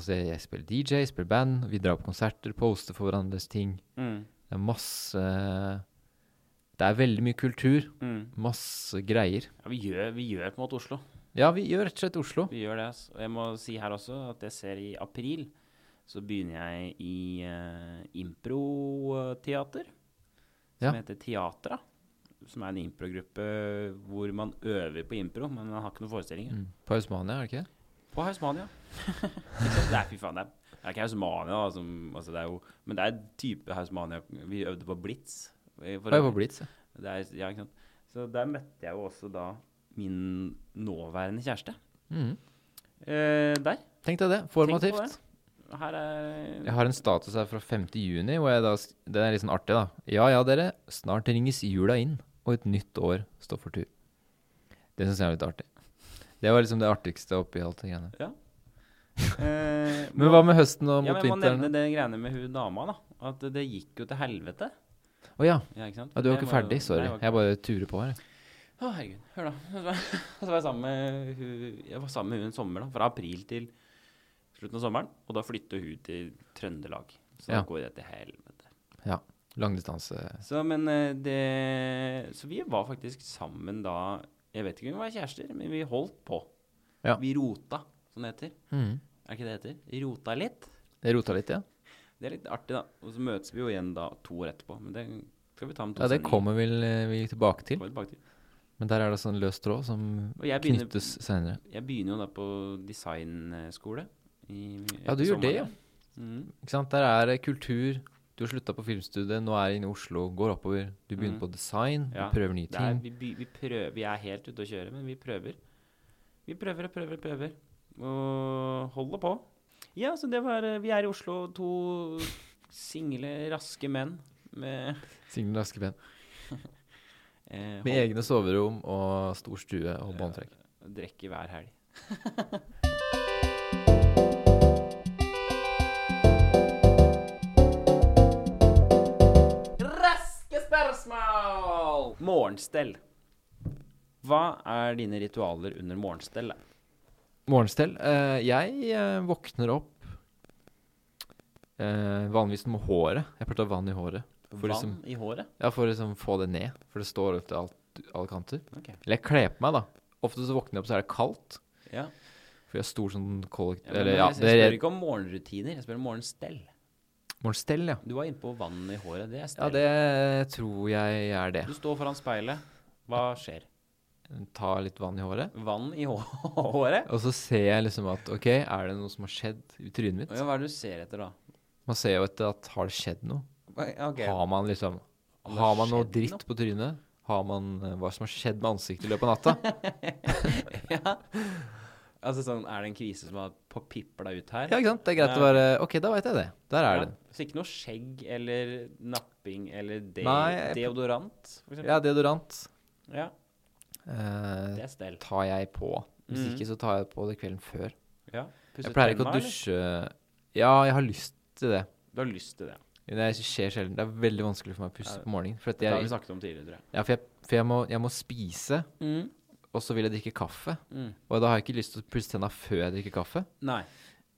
Speaker 2: Altså, jeg, jeg spiller DJ, spiller band, vi drar på konserter, poster for hverandres ting.
Speaker 1: Mm,
Speaker 2: Det er masse Det er veldig mye kultur.
Speaker 1: mm.
Speaker 2: Masse greier.
Speaker 1: Ja, vi, gjør, vi gjør på en måte Oslo.
Speaker 2: Ja, vi gjør rett og slett Oslo.
Speaker 1: Vi gjør det. ass. Og jeg må si her også at jeg ser i april så begynner jeg i uh, improteater. Som
Speaker 2: Ja.
Speaker 1: heter Teatra. Som er en improgruppe hvor man øver på impro, men man har ikke noen forestillinger.
Speaker 2: Mm. På Hausmania, er det ikke det?
Speaker 1: På
Speaker 2: [laughs]
Speaker 1: Hausmania. Ikke sant? det er fy faen, det er, det er ikke Hausmania, da, som- altså, det er jo, men det er en type Hausmania. Vi øvde på Blitz. eh, for
Speaker 2: Det er jo
Speaker 1: øvrig.
Speaker 2: på Blitz. ja.
Speaker 1: Det er, ja, ikke sant? Så der møtte jeg jo også da min nåværende kjæreste.
Speaker 2: Mm.
Speaker 1: Eh, der.
Speaker 2: Tenk deg det.
Speaker 1: Tenk
Speaker 2: Formativt.
Speaker 1: på det. Her er
Speaker 2: Jeg har en status her fra 5. juni, hvor jeg da, sk- den er litt sånn artig, da. Ja ja, dere, snart ringes jula inn, og et nytt år står for tur. Det syns jeg er litt artig. Det var liksom det artigste oppi alt det greiene.
Speaker 1: eh,
Speaker 2: [laughs] Men hva med høsten og
Speaker 1: ja,
Speaker 2: mot
Speaker 1: men Jeg må nevne
Speaker 2: vinteren?
Speaker 1: det greiene med hun dama, da. At det gikk jo til helvete.
Speaker 2: Å ja.
Speaker 1: Ja, ikke sant?
Speaker 2: ja. Du var
Speaker 1: Jeg
Speaker 2: ikke
Speaker 1: må jo-
Speaker 2: ferdig,
Speaker 1: Nei,
Speaker 2: sorry.
Speaker 1: jeg var ikke-
Speaker 2: Jeg bare turer på her.
Speaker 1: Å, herregud. Hør, da. [laughs] Så var jeg sammen med hun, jeg var sammen med hun en sommer, da. Fra april til slutten av sommeren. Og da flytter hun til Trøndelag. Så da
Speaker 2: Ja.
Speaker 1: går det til helvete.
Speaker 2: Langdistanse
Speaker 1: Så, men eh, det Så vi var faktisk sammen da Jeg vet ikke om vi var kjærester, men vi holdt på.
Speaker 2: Ja.
Speaker 1: Vi rota, som det heter.
Speaker 2: mm.
Speaker 1: Er det ikke det det heter? Rota litt.
Speaker 2: Det rota litt, ja.
Speaker 1: Det er litt artig, da. Og så møtes vi jo igjen da to år etterpå. Men det skal vi ta med to
Speaker 2: Ja, Det
Speaker 1: sendinger.
Speaker 2: kommer vel eh, vi tilbake til.
Speaker 1: Kommer vi tilbake til.
Speaker 2: Men der er det sånn løs tråd som
Speaker 1: Og jeg begynner-
Speaker 2: knyttes senere.
Speaker 1: Jeg begynner jo da på designskole. i-
Speaker 2: Ja, du
Speaker 1: sommeren
Speaker 2: gjør det,
Speaker 1: der.
Speaker 2: ja.
Speaker 1: Mhm.
Speaker 2: Ikke sant? Der er det kultur. Du har slutta på filmstudiet, nå er jeg inne i Oslo, går oppover. Du begynner
Speaker 1: Mm.
Speaker 2: på design,
Speaker 1: Ja,
Speaker 2: du prøver nye
Speaker 1: Det er,
Speaker 2: ting.
Speaker 1: vi, by- vi, prøver, vi er helt ute å kjøre, men vi prøver. Vi prøver og prøver og prøver. Og holder på. Ja, så det var eh, Vi er i Oslo, to single, raske menn med
Speaker 2: Signe Askepen.
Speaker 1: eh,
Speaker 2: Med egne soverom og stor stue og båndtrekk.
Speaker 1: hold- drikke hver helg. Raske spørsmål! Morgenstell. Hva er dine ritualer under morgenstellet?
Speaker 2: Morgenstell. Eh, jeg eh, våkner opp eh, vanligvis med håret. Jeg pleier å ta vann i håret. For
Speaker 1: Vann
Speaker 2: liksom-
Speaker 1: i håret?
Speaker 2: Ja, For å liksom få det ned. For det står ut til alt, alle kanter.
Speaker 1: Ok.
Speaker 2: Eller jeg kler på meg, da. Ofte så våkner jeg opp, så er det kaldt.
Speaker 1: Ja.
Speaker 2: For jeg har stor sånn kollektiv...
Speaker 1: Ja, men
Speaker 2: eller ja,
Speaker 1: jeg,
Speaker 2: det
Speaker 1: jeg
Speaker 2: er
Speaker 1: spør ikke om morgenrutiner, jeg spør om morgenstell.
Speaker 2: morgenstell, ja.
Speaker 1: Du var inne på vann i håret. Det er
Speaker 2: Ja,
Speaker 1: stell.
Speaker 2: det tror jeg er det.
Speaker 1: Du står foran speilet. Hva skjer?
Speaker 2: Ta litt vann i håret.
Speaker 1: Vann i [laughs] hå- håret?
Speaker 2: Og så ser jeg liksom at OK, er det noe som har skjedd i trynet
Speaker 1: Ja,
Speaker 2: mitt?
Speaker 1: hva er det du ser etter, da?
Speaker 2: Man ser jo etter at har det skjedd noe?
Speaker 1: Hva- ok.
Speaker 2: Har man liksom
Speaker 1: Om det
Speaker 2: Har
Speaker 1: har
Speaker 2: man noe
Speaker 1: skjedd
Speaker 2: dritt
Speaker 1: noe?
Speaker 2: på trynet?
Speaker 1: [laughs]
Speaker 2: Har man eh, hva som har skjedd med ansiktet i løpet av natta?
Speaker 1: Ja. Altså sånn, Er det en krise som har på- pipper deg ut her?
Speaker 2: Ja, ikke sant? Det er greit å være OK, da veit jeg det. Der
Speaker 1: Ja.
Speaker 2: er den.
Speaker 1: Så ikke noe skjegg eller napping eller de
Speaker 2: Nei, jeg-
Speaker 1: deodorant? For eksempel.
Speaker 2: Ja, deodorant
Speaker 1: ja,
Speaker 2: eh,
Speaker 1: det er stell.
Speaker 2: tar jeg på. Hvis
Speaker 1: Mhm.
Speaker 2: ikke, så tar jeg det på det kvelden før.
Speaker 1: Ja. Pusset
Speaker 2: Jeg pleier ikke
Speaker 1: tenna,
Speaker 2: å
Speaker 1: eller?
Speaker 2: dusje Ja, jeg har lyst til det.
Speaker 1: Du har lyst til det.
Speaker 2: Men det skjer sjelden. Det er veldig vanskelig for meg å pusse
Speaker 1: Ja.
Speaker 2: på morgenen. For, at
Speaker 1: Det har vi
Speaker 2: jeg,
Speaker 1: snakket om tidligere, tror jeg.
Speaker 2: ja, for, jeg, for jeg, må, jeg må spise, og så vil jeg drikke kaffe.
Speaker 1: Mm.
Speaker 2: Og da har jeg ikke lyst til å pusse tenna før jeg drikker kaffe.
Speaker 1: Nei.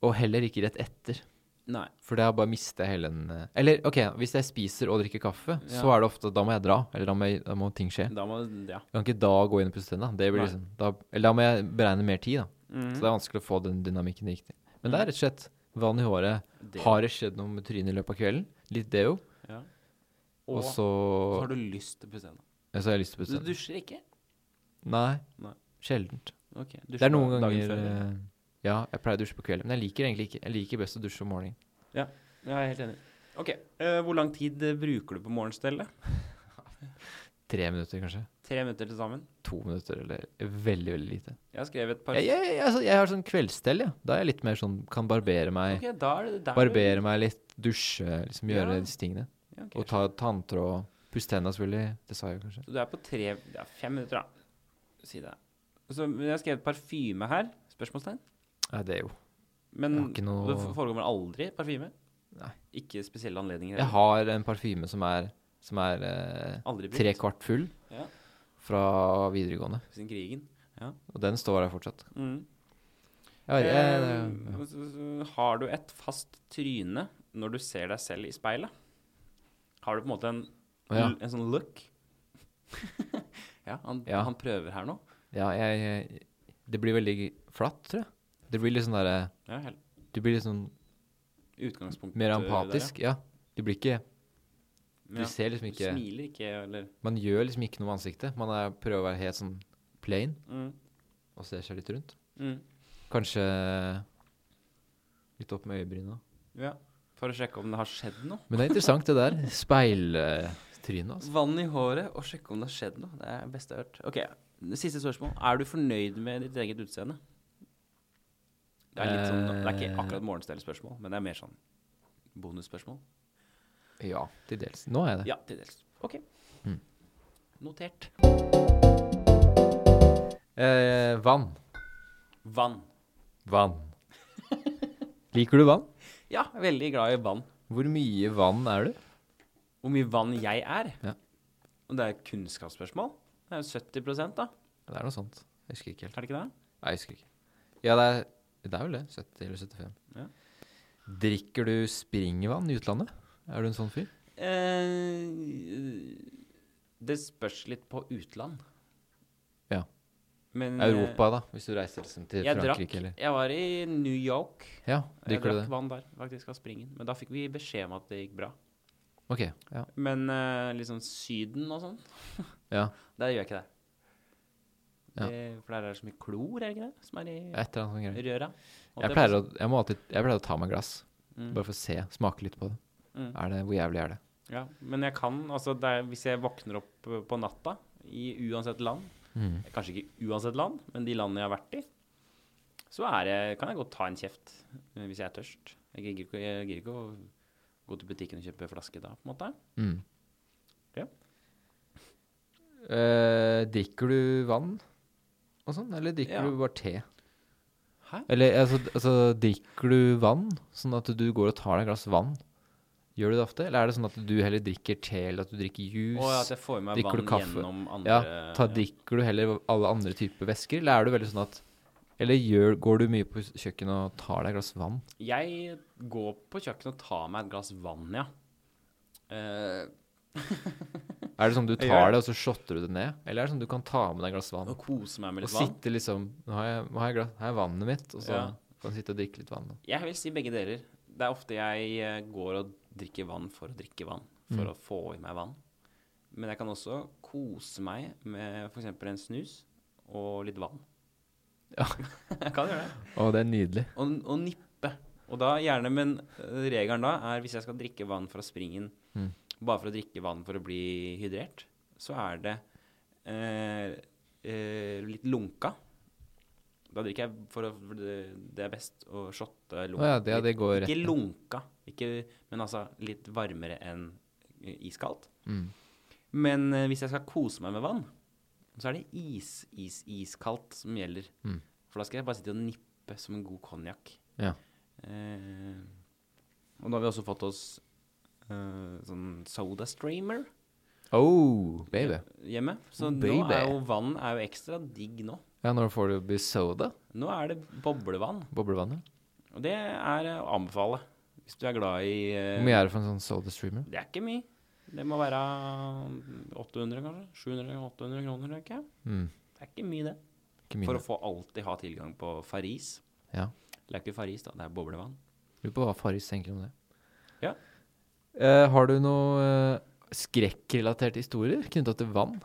Speaker 2: Og heller ikke rett etter.
Speaker 1: Nei.
Speaker 2: For da bare mister jeg hele den eh, Eller OK, hvis jeg spiser og drikker kaffe, så
Speaker 1: Ja.
Speaker 2: er det ofte Da må jeg dra. Eller da må, jeg, da må ting skje.
Speaker 1: Da må Ja.
Speaker 2: Jeg kan ikke da gå inn og pusse tenna. Det
Speaker 1: Nei.
Speaker 2: blir liksom, da, eller da må jeg beregne mer tid, da. Så
Speaker 1: Mm.
Speaker 2: det er vanskelig å få den dynamikken riktig. Men det er rett og slett vann i håret.
Speaker 1: Det.
Speaker 2: Har det skjedd noe med trynet i løpet av kvelden? Litt deo.
Speaker 1: Ja.
Speaker 2: Og
Speaker 1: Og så
Speaker 2: så
Speaker 1: har du lyst til å pusse tenna.
Speaker 2: ja, så har jeg lyst til
Speaker 1: Du
Speaker 2: å pusse tenna.
Speaker 1: dusjer ikke?
Speaker 2: Nei.
Speaker 1: Nei.
Speaker 2: Sjeldent.
Speaker 1: Ok.
Speaker 2: Det er noen
Speaker 1: dagen
Speaker 2: ganger
Speaker 1: før, eller?
Speaker 2: eh, Ja, jeg pleier å dusje på kvelden. Men jeg liker egentlig ikke Jeg liker best å dusje om morgenen. eh,
Speaker 1: Ja, jeg er helt enig. Ok, eh, Hvor lang tid eh, bruker du på morgenstellet?
Speaker 2: Tre minutter, kanskje.
Speaker 1: Tre minutter til sammen?
Speaker 2: To minutter, eller veldig, veldig lite.
Speaker 1: Jeg har skrevet et par
Speaker 2: Jeg, jeg, jeg, altså, jeg har sånn kveldsstell, ja. Da er jeg litt mer sånn Kan barbere meg.
Speaker 1: Ok, da er det der du-
Speaker 2: Barbere meg litt, dusje, liksom gjøre
Speaker 1: Ja.
Speaker 2: disse tingene.
Speaker 1: Ja, ok.
Speaker 2: Og ta tanntråd. Pusse tenna, selvfølgelig. Det sa jeg jo kanskje.
Speaker 1: Så du er på tre Det er fem minutter, da. Si det. Så jeg har skrevet parfyme her. Spørsmålstegn.
Speaker 2: Nei, det er jo
Speaker 1: Men
Speaker 2: Jeg har ikke noe-
Speaker 1: det forekommer aldri parfyme.
Speaker 2: Nei.
Speaker 1: Ikke spesielle anledninger.
Speaker 2: Jeg
Speaker 1: heller.
Speaker 2: har en parfyme som er, som er eh,
Speaker 1: Aldri brukt.
Speaker 2: tre kvart full
Speaker 1: Ja.
Speaker 2: fra videregående.
Speaker 1: Siden krigen.
Speaker 2: Og den står der fortsatt.
Speaker 1: Mm.
Speaker 2: Ja, jeg,
Speaker 1: Eh,
Speaker 2: jeg,
Speaker 1: så- så- så Har du et fast tryne når du ser deg selv i speilet? Har du på en måte en,
Speaker 2: eh, ja.
Speaker 1: l- en sånn look? [laughs] ja, han,
Speaker 2: Ja.
Speaker 1: han prøver her nå.
Speaker 2: ja jeg, jeg, det blir veldig flatt, tror jeg. Det blir litt sånn derre
Speaker 1: Ja, helt
Speaker 2: Du blir litt sånn
Speaker 1: utgangspunkt
Speaker 2: mer
Speaker 1: der, ja.
Speaker 2: empatisk. Ja. Du blir ikke Du
Speaker 1: Ja.
Speaker 2: ser liksom
Speaker 1: Du
Speaker 2: ikke
Speaker 1: smiler ikke, eller
Speaker 2: Man gjør liksom ikke noe med ansiktet. Man er, prøver å være helt sånn plain
Speaker 1: mm,
Speaker 2: og ser seg litt rundt.
Speaker 1: mm,
Speaker 2: Kanskje litt opp med øyebrynene.
Speaker 1: Ja. For å sjekke om det har skjedd noe.
Speaker 2: Men det er interessant,
Speaker 1: [laughs]
Speaker 2: det der. Speiltrynet, altså.
Speaker 1: Vann i håret og sjekke om det har skjedd noe. Det er det beste jeg har hørt. Ok, det Siste spørsmål. Er du fornøyd med ditt eget utseende? Det er, litt sånn, det er ikke akkurat morgenstellespørsmål, men det er mer sånn bonusspørsmål.
Speaker 2: Ja, til dels. Nå er jeg det.
Speaker 1: Ja, til dels. Ok.
Speaker 2: Mm.
Speaker 1: Notert.
Speaker 2: Eh, vann.
Speaker 1: Vann.
Speaker 2: Vann.
Speaker 1: [laughs]
Speaker 2: Liker du vann?
Speaker 1: Ja, veldig glad i vann.
Speaker 2: Hvor mye vann er du?
Speaker 1: Hvor mye vann jeg er.
Speaker 2: Ja.
Speaker 1: Og det er et kunnskapsspørsmål. Det er jo 70 da.
Speaker 2: Det er noe sånt. Jeg husker ikke helt.
Speaker 1: Er det ikke det?
Speaker 2: Nei, jeg husker ikke. Ja, det er, det er vel det. 70 eller 75.
Speaker 1: Ja.
Speaker 2: Drikker du springvann i utlandet? Er du en sånn fyr?
Speaker 1: Eh, det spørs litt på utland.
Speaker 2: Ja.
Speaker 1: Men eh,
Speaker 2: Europa, da. Hvis du reiser liksom til
Speaker 1: jeg
Speaker 2: Frankrike
Speaker 1: drakk,
Speaker 2: eller
Speaker 1: Jeg var i New York.
Speaker 2: Ja,
Speaker 1: Jeg
Speaker 2: drikker du
Speaker 1: drakk
Speaker 2: det?
Speaker 1: vann der, faktisk, av springen. Men da fikk vi beskjed om at det gikk bra.
Speaker 2: OK. Ja.
Speaker 1: Men eh, liksom Syden og sånn, [laughs]
Speaker 2: ja.
Speaker 1: der gjør jeg ikke det.
Speaker 2: Ja.
Speaker 1: det for der er det så mye klor, er det ikke det? Som er i
Speaker 2: Et eller annet sånt greier.
Speaker 1: røra.
Speaker 2: Jeg pleier, å, jeg, må alltid, jeg pleier å ta meg et glass,
Speaker 1: Mm.
Speaker 2: bare for å se, smake litt på det.
Speaker 1: Mm.
Speaker 2: Er det, hvor jævlig er det?
Speaker 1: Ja, men jeg kan, altså det er, hvis jeg våkner opp eh, på natta i uansett land,
Speaker 2: Mm.
Speaker 1: kanskje ikke uansett land, men de landene jeg har vært i, så er jeg, kan jeg godt ta en kjeft eh, hvis jeg er tørst. Jeg gidder ikke, jeg gidder ikke å gå til butikken og kjøpe flaske da, på en måte.
Speaker 2: Mm.
Speaker 1: Ja.
Speaker 2: Eh, drikker du vann og sånn, eller drikker
Speaker 1: Ja.
Speaker 2: du bare te?
Speaker 1: Hæ?
Speaker 2: Eller altså, altså, drikker du vann, sånn at du går og tar deg et glass vann? Gjør du det ofte? Eller er det sånn at du heller drikker te, eller at du drikker juice?
Speaker 1: Og at jeg får i meg
Speaker 2: Drikker du
Speaker 1: vann
Speaker 2: kaffe?
Speaker 1: gjennom andre
Speaker 2: ja, ta, drikker du heller alle andre typer væsker, eller er du veldig sånn at Eller gjør, går du mye på kjøkkenet og tar deg et glass vann?
Speaker 1: Jeg går på kjøkkenet og tar meg et glass vann, ja. Eh,
Speaker 2: Er det sånn du
Speaker 1: Jeg gjør
Speaker 2: tar det, og så shotter du det ned? Eller er det sånn du kan ta med deg et glass vann?
Speaker 1: og koser meg med
Speaker 2: Og
Speaker 1: litt vann.
Speaker 2: sitte liksom Nå har jeg, nå har jeg, glass, her er vannet mitt, og så
Speaker 1: Ja.
Speaker 2: kan jeg sitte og drikke litt vann.
Speaker 1: Jeg vil si begge deler. Det er ofte jeg eh, går og drikker vann for å drikke vann, for
Speaker 2: Mm.
Speaker 1: å få i meg vann. Men jeg kan også kose meg med f.eks. en snus og litt vann.
Speaker 2: Ja.
Speaker 1: [laughs] jeg kan gjøre det.
Speaker 2: Å, det er nydelig.
Speaker 1: Og, og nippe. Og da gjerne, men eh, regelen da er hvis jeg skal drikke vann fra springen
Speaker 2: Mm.
Speaker 1: bare for å drikke vann for å bli hydrert, så er det eh, eh, litt lunka. Da drikker jeg for å for det, det er best å shotte
Speaker 2: Å ja, det, ja, det går
Speaker 1: Ikke
Speaker 2: rett ned.
Speaker 1: lunka, ikke, men altså litt varmere enn eh, iskaldt.
Speaker 2: Mm.
Speaker 1: Men eh, hvis jeg skal kose meg med vann, så er det is, is, iskaldt som gjelder.
Speaker 2: Mm.
Speaker 1: For da skal jeg bare sitte og nippe som en god konjakk.
Speaker 2: Ja.
Speaker 1: Eh, og da har vi også fått oss eh, sånn soda streamer
Speaker 2: Oh, baby.
Speaker 1: hjemme. Så nå
Speaker 2: Mm, Baby.
Speaker 1: er jo vann er jo ekstra digg nå.
Speaker 2: Ja, når får du bli soda?
Speaker 1: Nå er det boblevann,
Speaker 2: Boblevannet?
Speaker 1: og det er å anbefale hvis du er glad i eh,
Speaker 2: Hvor mye er det for en sånn soda streamer?
Speaker 1: Det er ikke mye. Det må være 800, kanskje. 700-800 kroner, tenker jeg.
Speaker 2: Mm.
Speaker 1: Det er ikke mye, det.
Speaker 2: Ikke
Speaker 1: For
Speaker 2: mye.
Speaker 1: å få alltid ha tilgang på Farris.
Speaker 2: Ja.
Speaker 1: Det er ikke Farris, da. Det er boblevann.
Speaker 2: Lurer på hva Farris tenker om det.
Speaker 1: Ja.
Speaker 2: Eh, har du noe eh, skrekkrelaterte historier knytta til vann?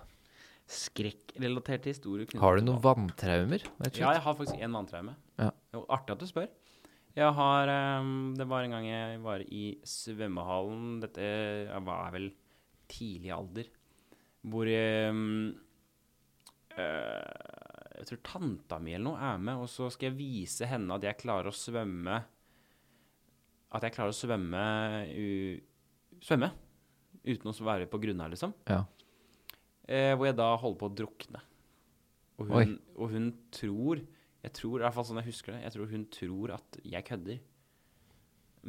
Speaker 1: Skrekkrelaterte historier knyttet
Speaker 2: Har du
Speaker 1: til
Speaker 2: noen
Speaker 1: vann.
Speaker 2: vanntraumer? Rett og
Speaker 1: Ja,
Speaker 2: slett?
Speaker 1: jeg har faktisk én vanntraume.
Speaker 2: Ja.
Speaker 1: Det var Artig at du spør. Jeg har ehm, Det var en gang jeg var i svømmehallen. Dette jeg var vel tidlig alder. Hvor ehm, eh, Jeg tror tanta mi eller noe er med, og så skal jeg vise henne at jeg klarer å svømme At jeg klarer å svømme u, Svømme. Uten å være på grunna, liksom.
Speaker 2: Ja.
Speaker 1: Eh, hvor jeg da holder på å drukne. Og
Speaker 2: Oi.
Speaker 1: hun, og hun tror Jeg tror, i hvert fall sånn jeg husker det, jeg tror hun tror at jeg kødder.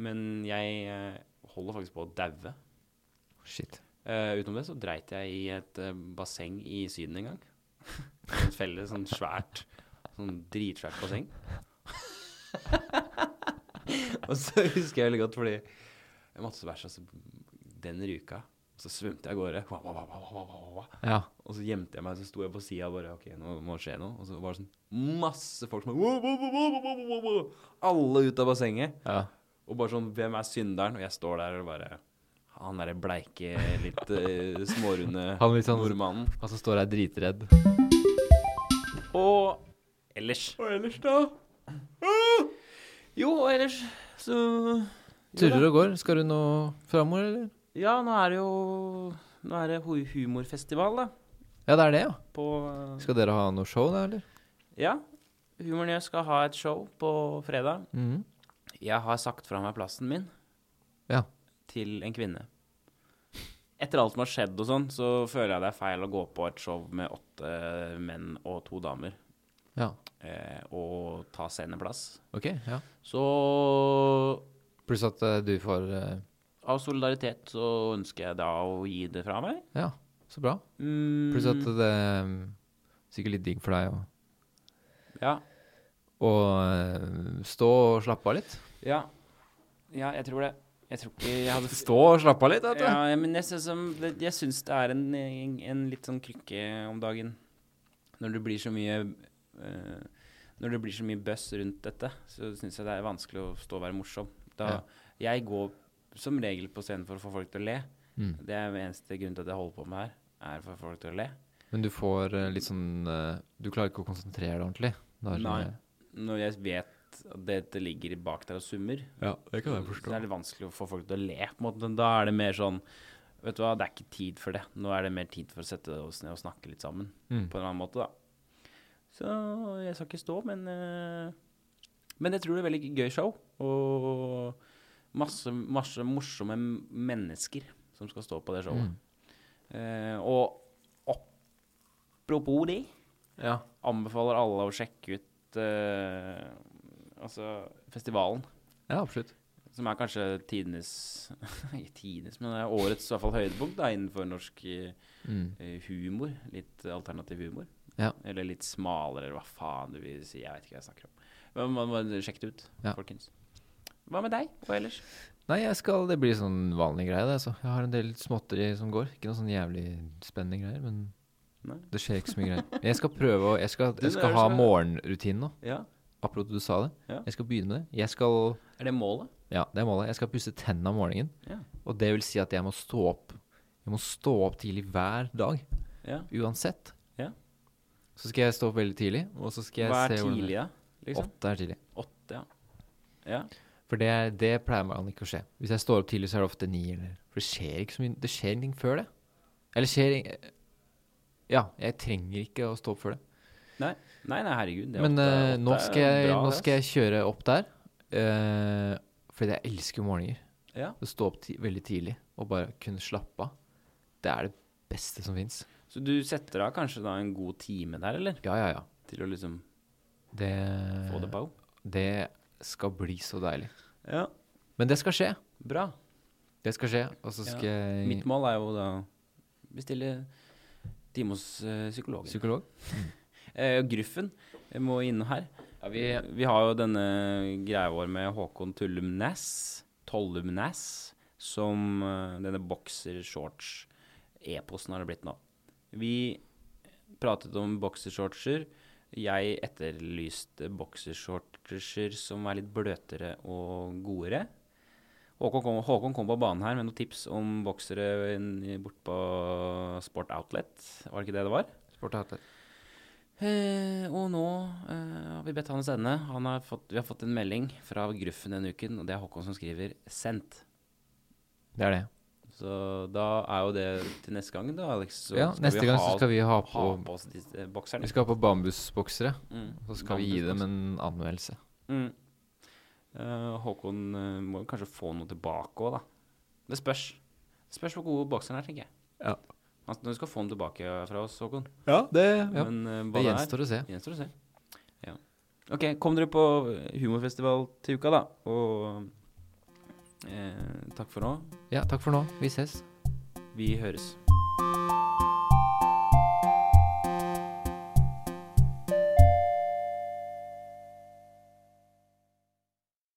Speaker 1: Men jeg eh, holder faktisk på å daue.
Speaker 2: Shit.
Speaker 1: Eh, utenom det så dreit jeg i et eh, basseng i Syden en gang. [laughs] Et felles sånn svært, sånn dritsvært basseng. [laughs] og så husker jeg veldig godt fordi jeg måtte så bæsje, og så den ruka. Så svømte jeg av gårde. Wa, wa, wa, wa, wa, wa, wa.
Speaker 2: Ja.
Speaker 1: Og så gjemte jeg meg, så sto jeg på sida og bare OK, nå må det skje noe. Og så var det sånn masse folk som bare «Wow, wow, wow, wow, wow, wow, wow». Alle ut av bassenget.
Speaker 2: ja.
Speaker 1: Og bare sånn Hvem er synderen? Og jeg står der og bare Han derre bleike, litt eh, smårunde
Speaker 2: [laughs] Han litt sånn-
Speaker 1: nordmannen.
Speaker 2: Og så står jeg dritredd.
Speaker 1: Og ellers Og ellers, da? Jo, og ellers så
Speaker 2: Turer og går. Skal du noe framover, eller?
Speaker 1: Ja, nå er det jo Nå er det hu- humorfestival, da.
Speaker 2: Ja, det er det, ja.
Speaker 1: På
Speaker 2: Skal dere ha noe show, da, eller?
Speaker 1: Ja. Humoren jeg skal ha et show på fredag.
Speaker 2: Mhm.
Speaker 1: Jeg har sagt fra meg plassen min
Speaker 2: Ja.
Speaker 1: til en kvinne. Etter alt som har skjedd og sånn, så føler jeg det er feil å gå på et show med åtte menn og to damer
Speaker 2: Ja.
Speaker 1: eh, og ta sceneplass.
Speaker 2: Ok, ja.
Speaker 1: Så
Speaker 2: Pluss at eh, du får eh,
Speaker 1: av solidaritet så ønsker jeg da å gi det fra meg.
Speaker 2: Ja, så bra.
Speaker 1: Mm,
Speaker 2: Pluss at det er sikkert litt digg for deg å
Speaker 1: ja,
Speaker 2: å, eh, stå og slappe av litt.
Speaker 1: ja. Ja, jeg tror det. Jeg tror ikke jeg hadde
Speaker 2: Stå og slappe av litt, vet du.
Speaker 1: Ja, ja, men jeg syns, som- det- jeg syns det er en, en, en litt sånn krykke om dagen. Når det blir så mye eh, Når det blir så mye buzz rundt dette, så syns jeg det er vanskelig å stå og være morsom. Da, Jeg går som regel på scenen for å få folk til å le.
Speaker 2: Mm.
Speaker 1: Det er den eneste grunnen til at jeg holder på med her, er for å få folk til å le.
Speaker 2: Men du får eh, litt sånn eh, Du klarer ikke å konsentrere deg ordentlig. eh, Da er det-
Speaker 1: Nei. Når jeg vet at dette ligger bak der og summer,
Speaker 2: Ja, det kan jeg
Speaker 1: så er det vanskelig å få folk til å le. på en måte. Da er det mer sånn Vet du hva, det er ikke tid for det. Nå er det mer tid for å sette oss ned og snakke litt sammen.
Speaker 2: Mm.
Speaker 1: på en eller annen måte, da. Så jeg skal ikke stå, men eh, Men jeg tror det er veldig gøy show. Og masse, masse morsomme m- mennesker som skal stå på det showet.
Speaker 2: Mm.
Speaker 1: Eh, og apropos de,
Speaker 2: Ja.
Speaker 1: anbefaler alle å sjekke ut eh, altså festivalen.
Speaker 2: ja, absolutt.
Speaker 1: Som er kanskje tidenes [laughs] Ikke tidenes, men det er årets i hvert fall høydepunkt da, innenfor norsk eh,
Speaker 2: Mm.
Speaker 1: eh, humor. Litt alternativ humor.
Speaker 2: Ja.
Speaker 1: Eller litt smalere, eller hva faen du vil si. Jeg vet ikke hva jeg snakker om. Men man må sjekke det ut,
Speaker 2: Ja.
Speaker 1: folkens. Hva med deg? Hva ellers?
Speaker 2: Nei, jeg skal, det blir sånn vanlig greie, det. Altså. Jeg har en del småtteri som går. Ikke noe sånn jævlig spennende greier, men
Speaker 1: Nei.
Speaker 2: det skjer ikke så mye greier. Jeg skal prøve å Jeg skal,
Speaker 1: Du,
Speaker 2: jeg
Speaker 1: nå er
Speaker 2: skal
Speaker 1: det
Speaker 2: ha
Speaker 1: så-
Speaker 2: morgenrutinen nå.
Speaker 1: Ja.
Speaker 2: Apropos du sa det.
Speaker 1: Ja.
Speaker 2: Jeg skal begynne med det. Jeg skal
Speaker 1: Er det målet?
Speaker 2: Ja, det er målet. Jeg skal pusse tennene om morgenen.
Speaker 1: Ja.
Speaker 2: Og det vil si at jeg må stå opp Jeg må stå opp tidlig hver dag.
Speaker 1: ja.
Speaker 2: Uansett.
Speaker 1: Ja.
Speaker 2: Så skal jeg stå opp veldig tidlig, og så skal jeg
Speaker 1: Hva er
Speaker 2: se hvordan
Speaker 1: tidlig,
Speaker 2: det-
Speaker 1: da? Liksom?
Speaker 2: Åtte er tidlig.
Speaker 1: Åtte, ja. ja.
Speaker 2: For det, er- det pleier man ikke å skje. Hvis jeg står opp tidlig, så er det ofte ni, eller For det skjer ikke så mye Det skjer ingenting før det. Eller skjer ing- Ja, jeg trenger ikke å stå opp før det.
Speaker 1: Nei, nei, herregud. Det er
Speaker 2: Men
Speaker 1: ofte-
Speaker 2: eh, nå,
Speaker 1: ofte
Speaker 2: skal jeg,
Speaker 1: bra,
Speaker 2: nå
Speaker 1: det,
Speaker 2: skal jeg kjøre opp der. eh, fordi jeg elsker morgener.
Speaker 1: ass. ja.
Speaker 2: Å stå opp ti veldig tidlig og bare kunne slappe av. Det er det beste som fins.
Speaker 1: Så du setter av kanskje da en god time der, eller?
Speaker 2: Ja, ja, ja.
Speaker 1: Til å liksom
Speaker 2: Det,
Speaker 1: få
Speaker 2: Eh.
Speaker 1: det på.
Speaker 2: det skal bli så deilig.
Speaker 1: Ja,
Speaker 2: Men det skal skje.
Speaker 1: bra.
Speaker 2: Det skal skje. Og så
Speaker 1: Ja.
Speaker 2: skal jeg
Speaker 1: Mitt mål er jo da bestille time hos eh, psykologen.
Speaker 2: Psykolog?
Speaker 1: Eh, Gruffen jeg må innom her. vi, har jo denne greia vår med Håkon Tullum Næss, Tollum Næss, som eh, denne boksershorts-e-posten har det blitt nå. Vi pratet om boksershortser. Jeg etterlyste boksershortser som er litt bløtere og godere. Håkon kom, Håkon kom på banen her med noen tips om boksere inn- bort på Sport Outlet. Var det ikke det det var?
Speaker 2: Sport og atlet.
Speaker 1: Eh, og nå eh, har vi bedt han å sende. Han har fått, vi har fått en melding fra Gruffen denne uken, og det er Håkon som skriver 'sendt'.
Speaker 2: Det er det.
Speaker 1: Så da er jo det til neste gang, da, Alex. Så
Speaker 2: ja, neste gang så skal vi ha
Speaker 1: ha
Speaker 2: på
Speaker 1: på oss disse eh, bokserne.
Speaker 2: Vi skal ha på bambusboksere.
Speaker 1: Mm.
Speaker 2: Så skal vi gi dem en anmeldelse.
Speaker 1: Mm. Eh, Håkon eh, må jo kanskje få noe tilbake òg, da. Det spørs. Det spørs hvor gode bokseren er, tenker jeg.
Speaker 2: Ja.
Speaker 1: Altså, du skal få den tilbake fra oss, Håkon.
Speaker 2: Ja, det,
Speaker 1: Men eh, hva det
Speaker 2: det
Speaker 1: er
Speaker 2: gjenstår å se.
Speaker 1: Gjenstår å se. Ja. Ok, kom dere på humorfestival til uka, da. Og eh, takk for nå.
Speaker 2: Ja, takk for nå. Vi ses.
Speaker 1: Vi høres.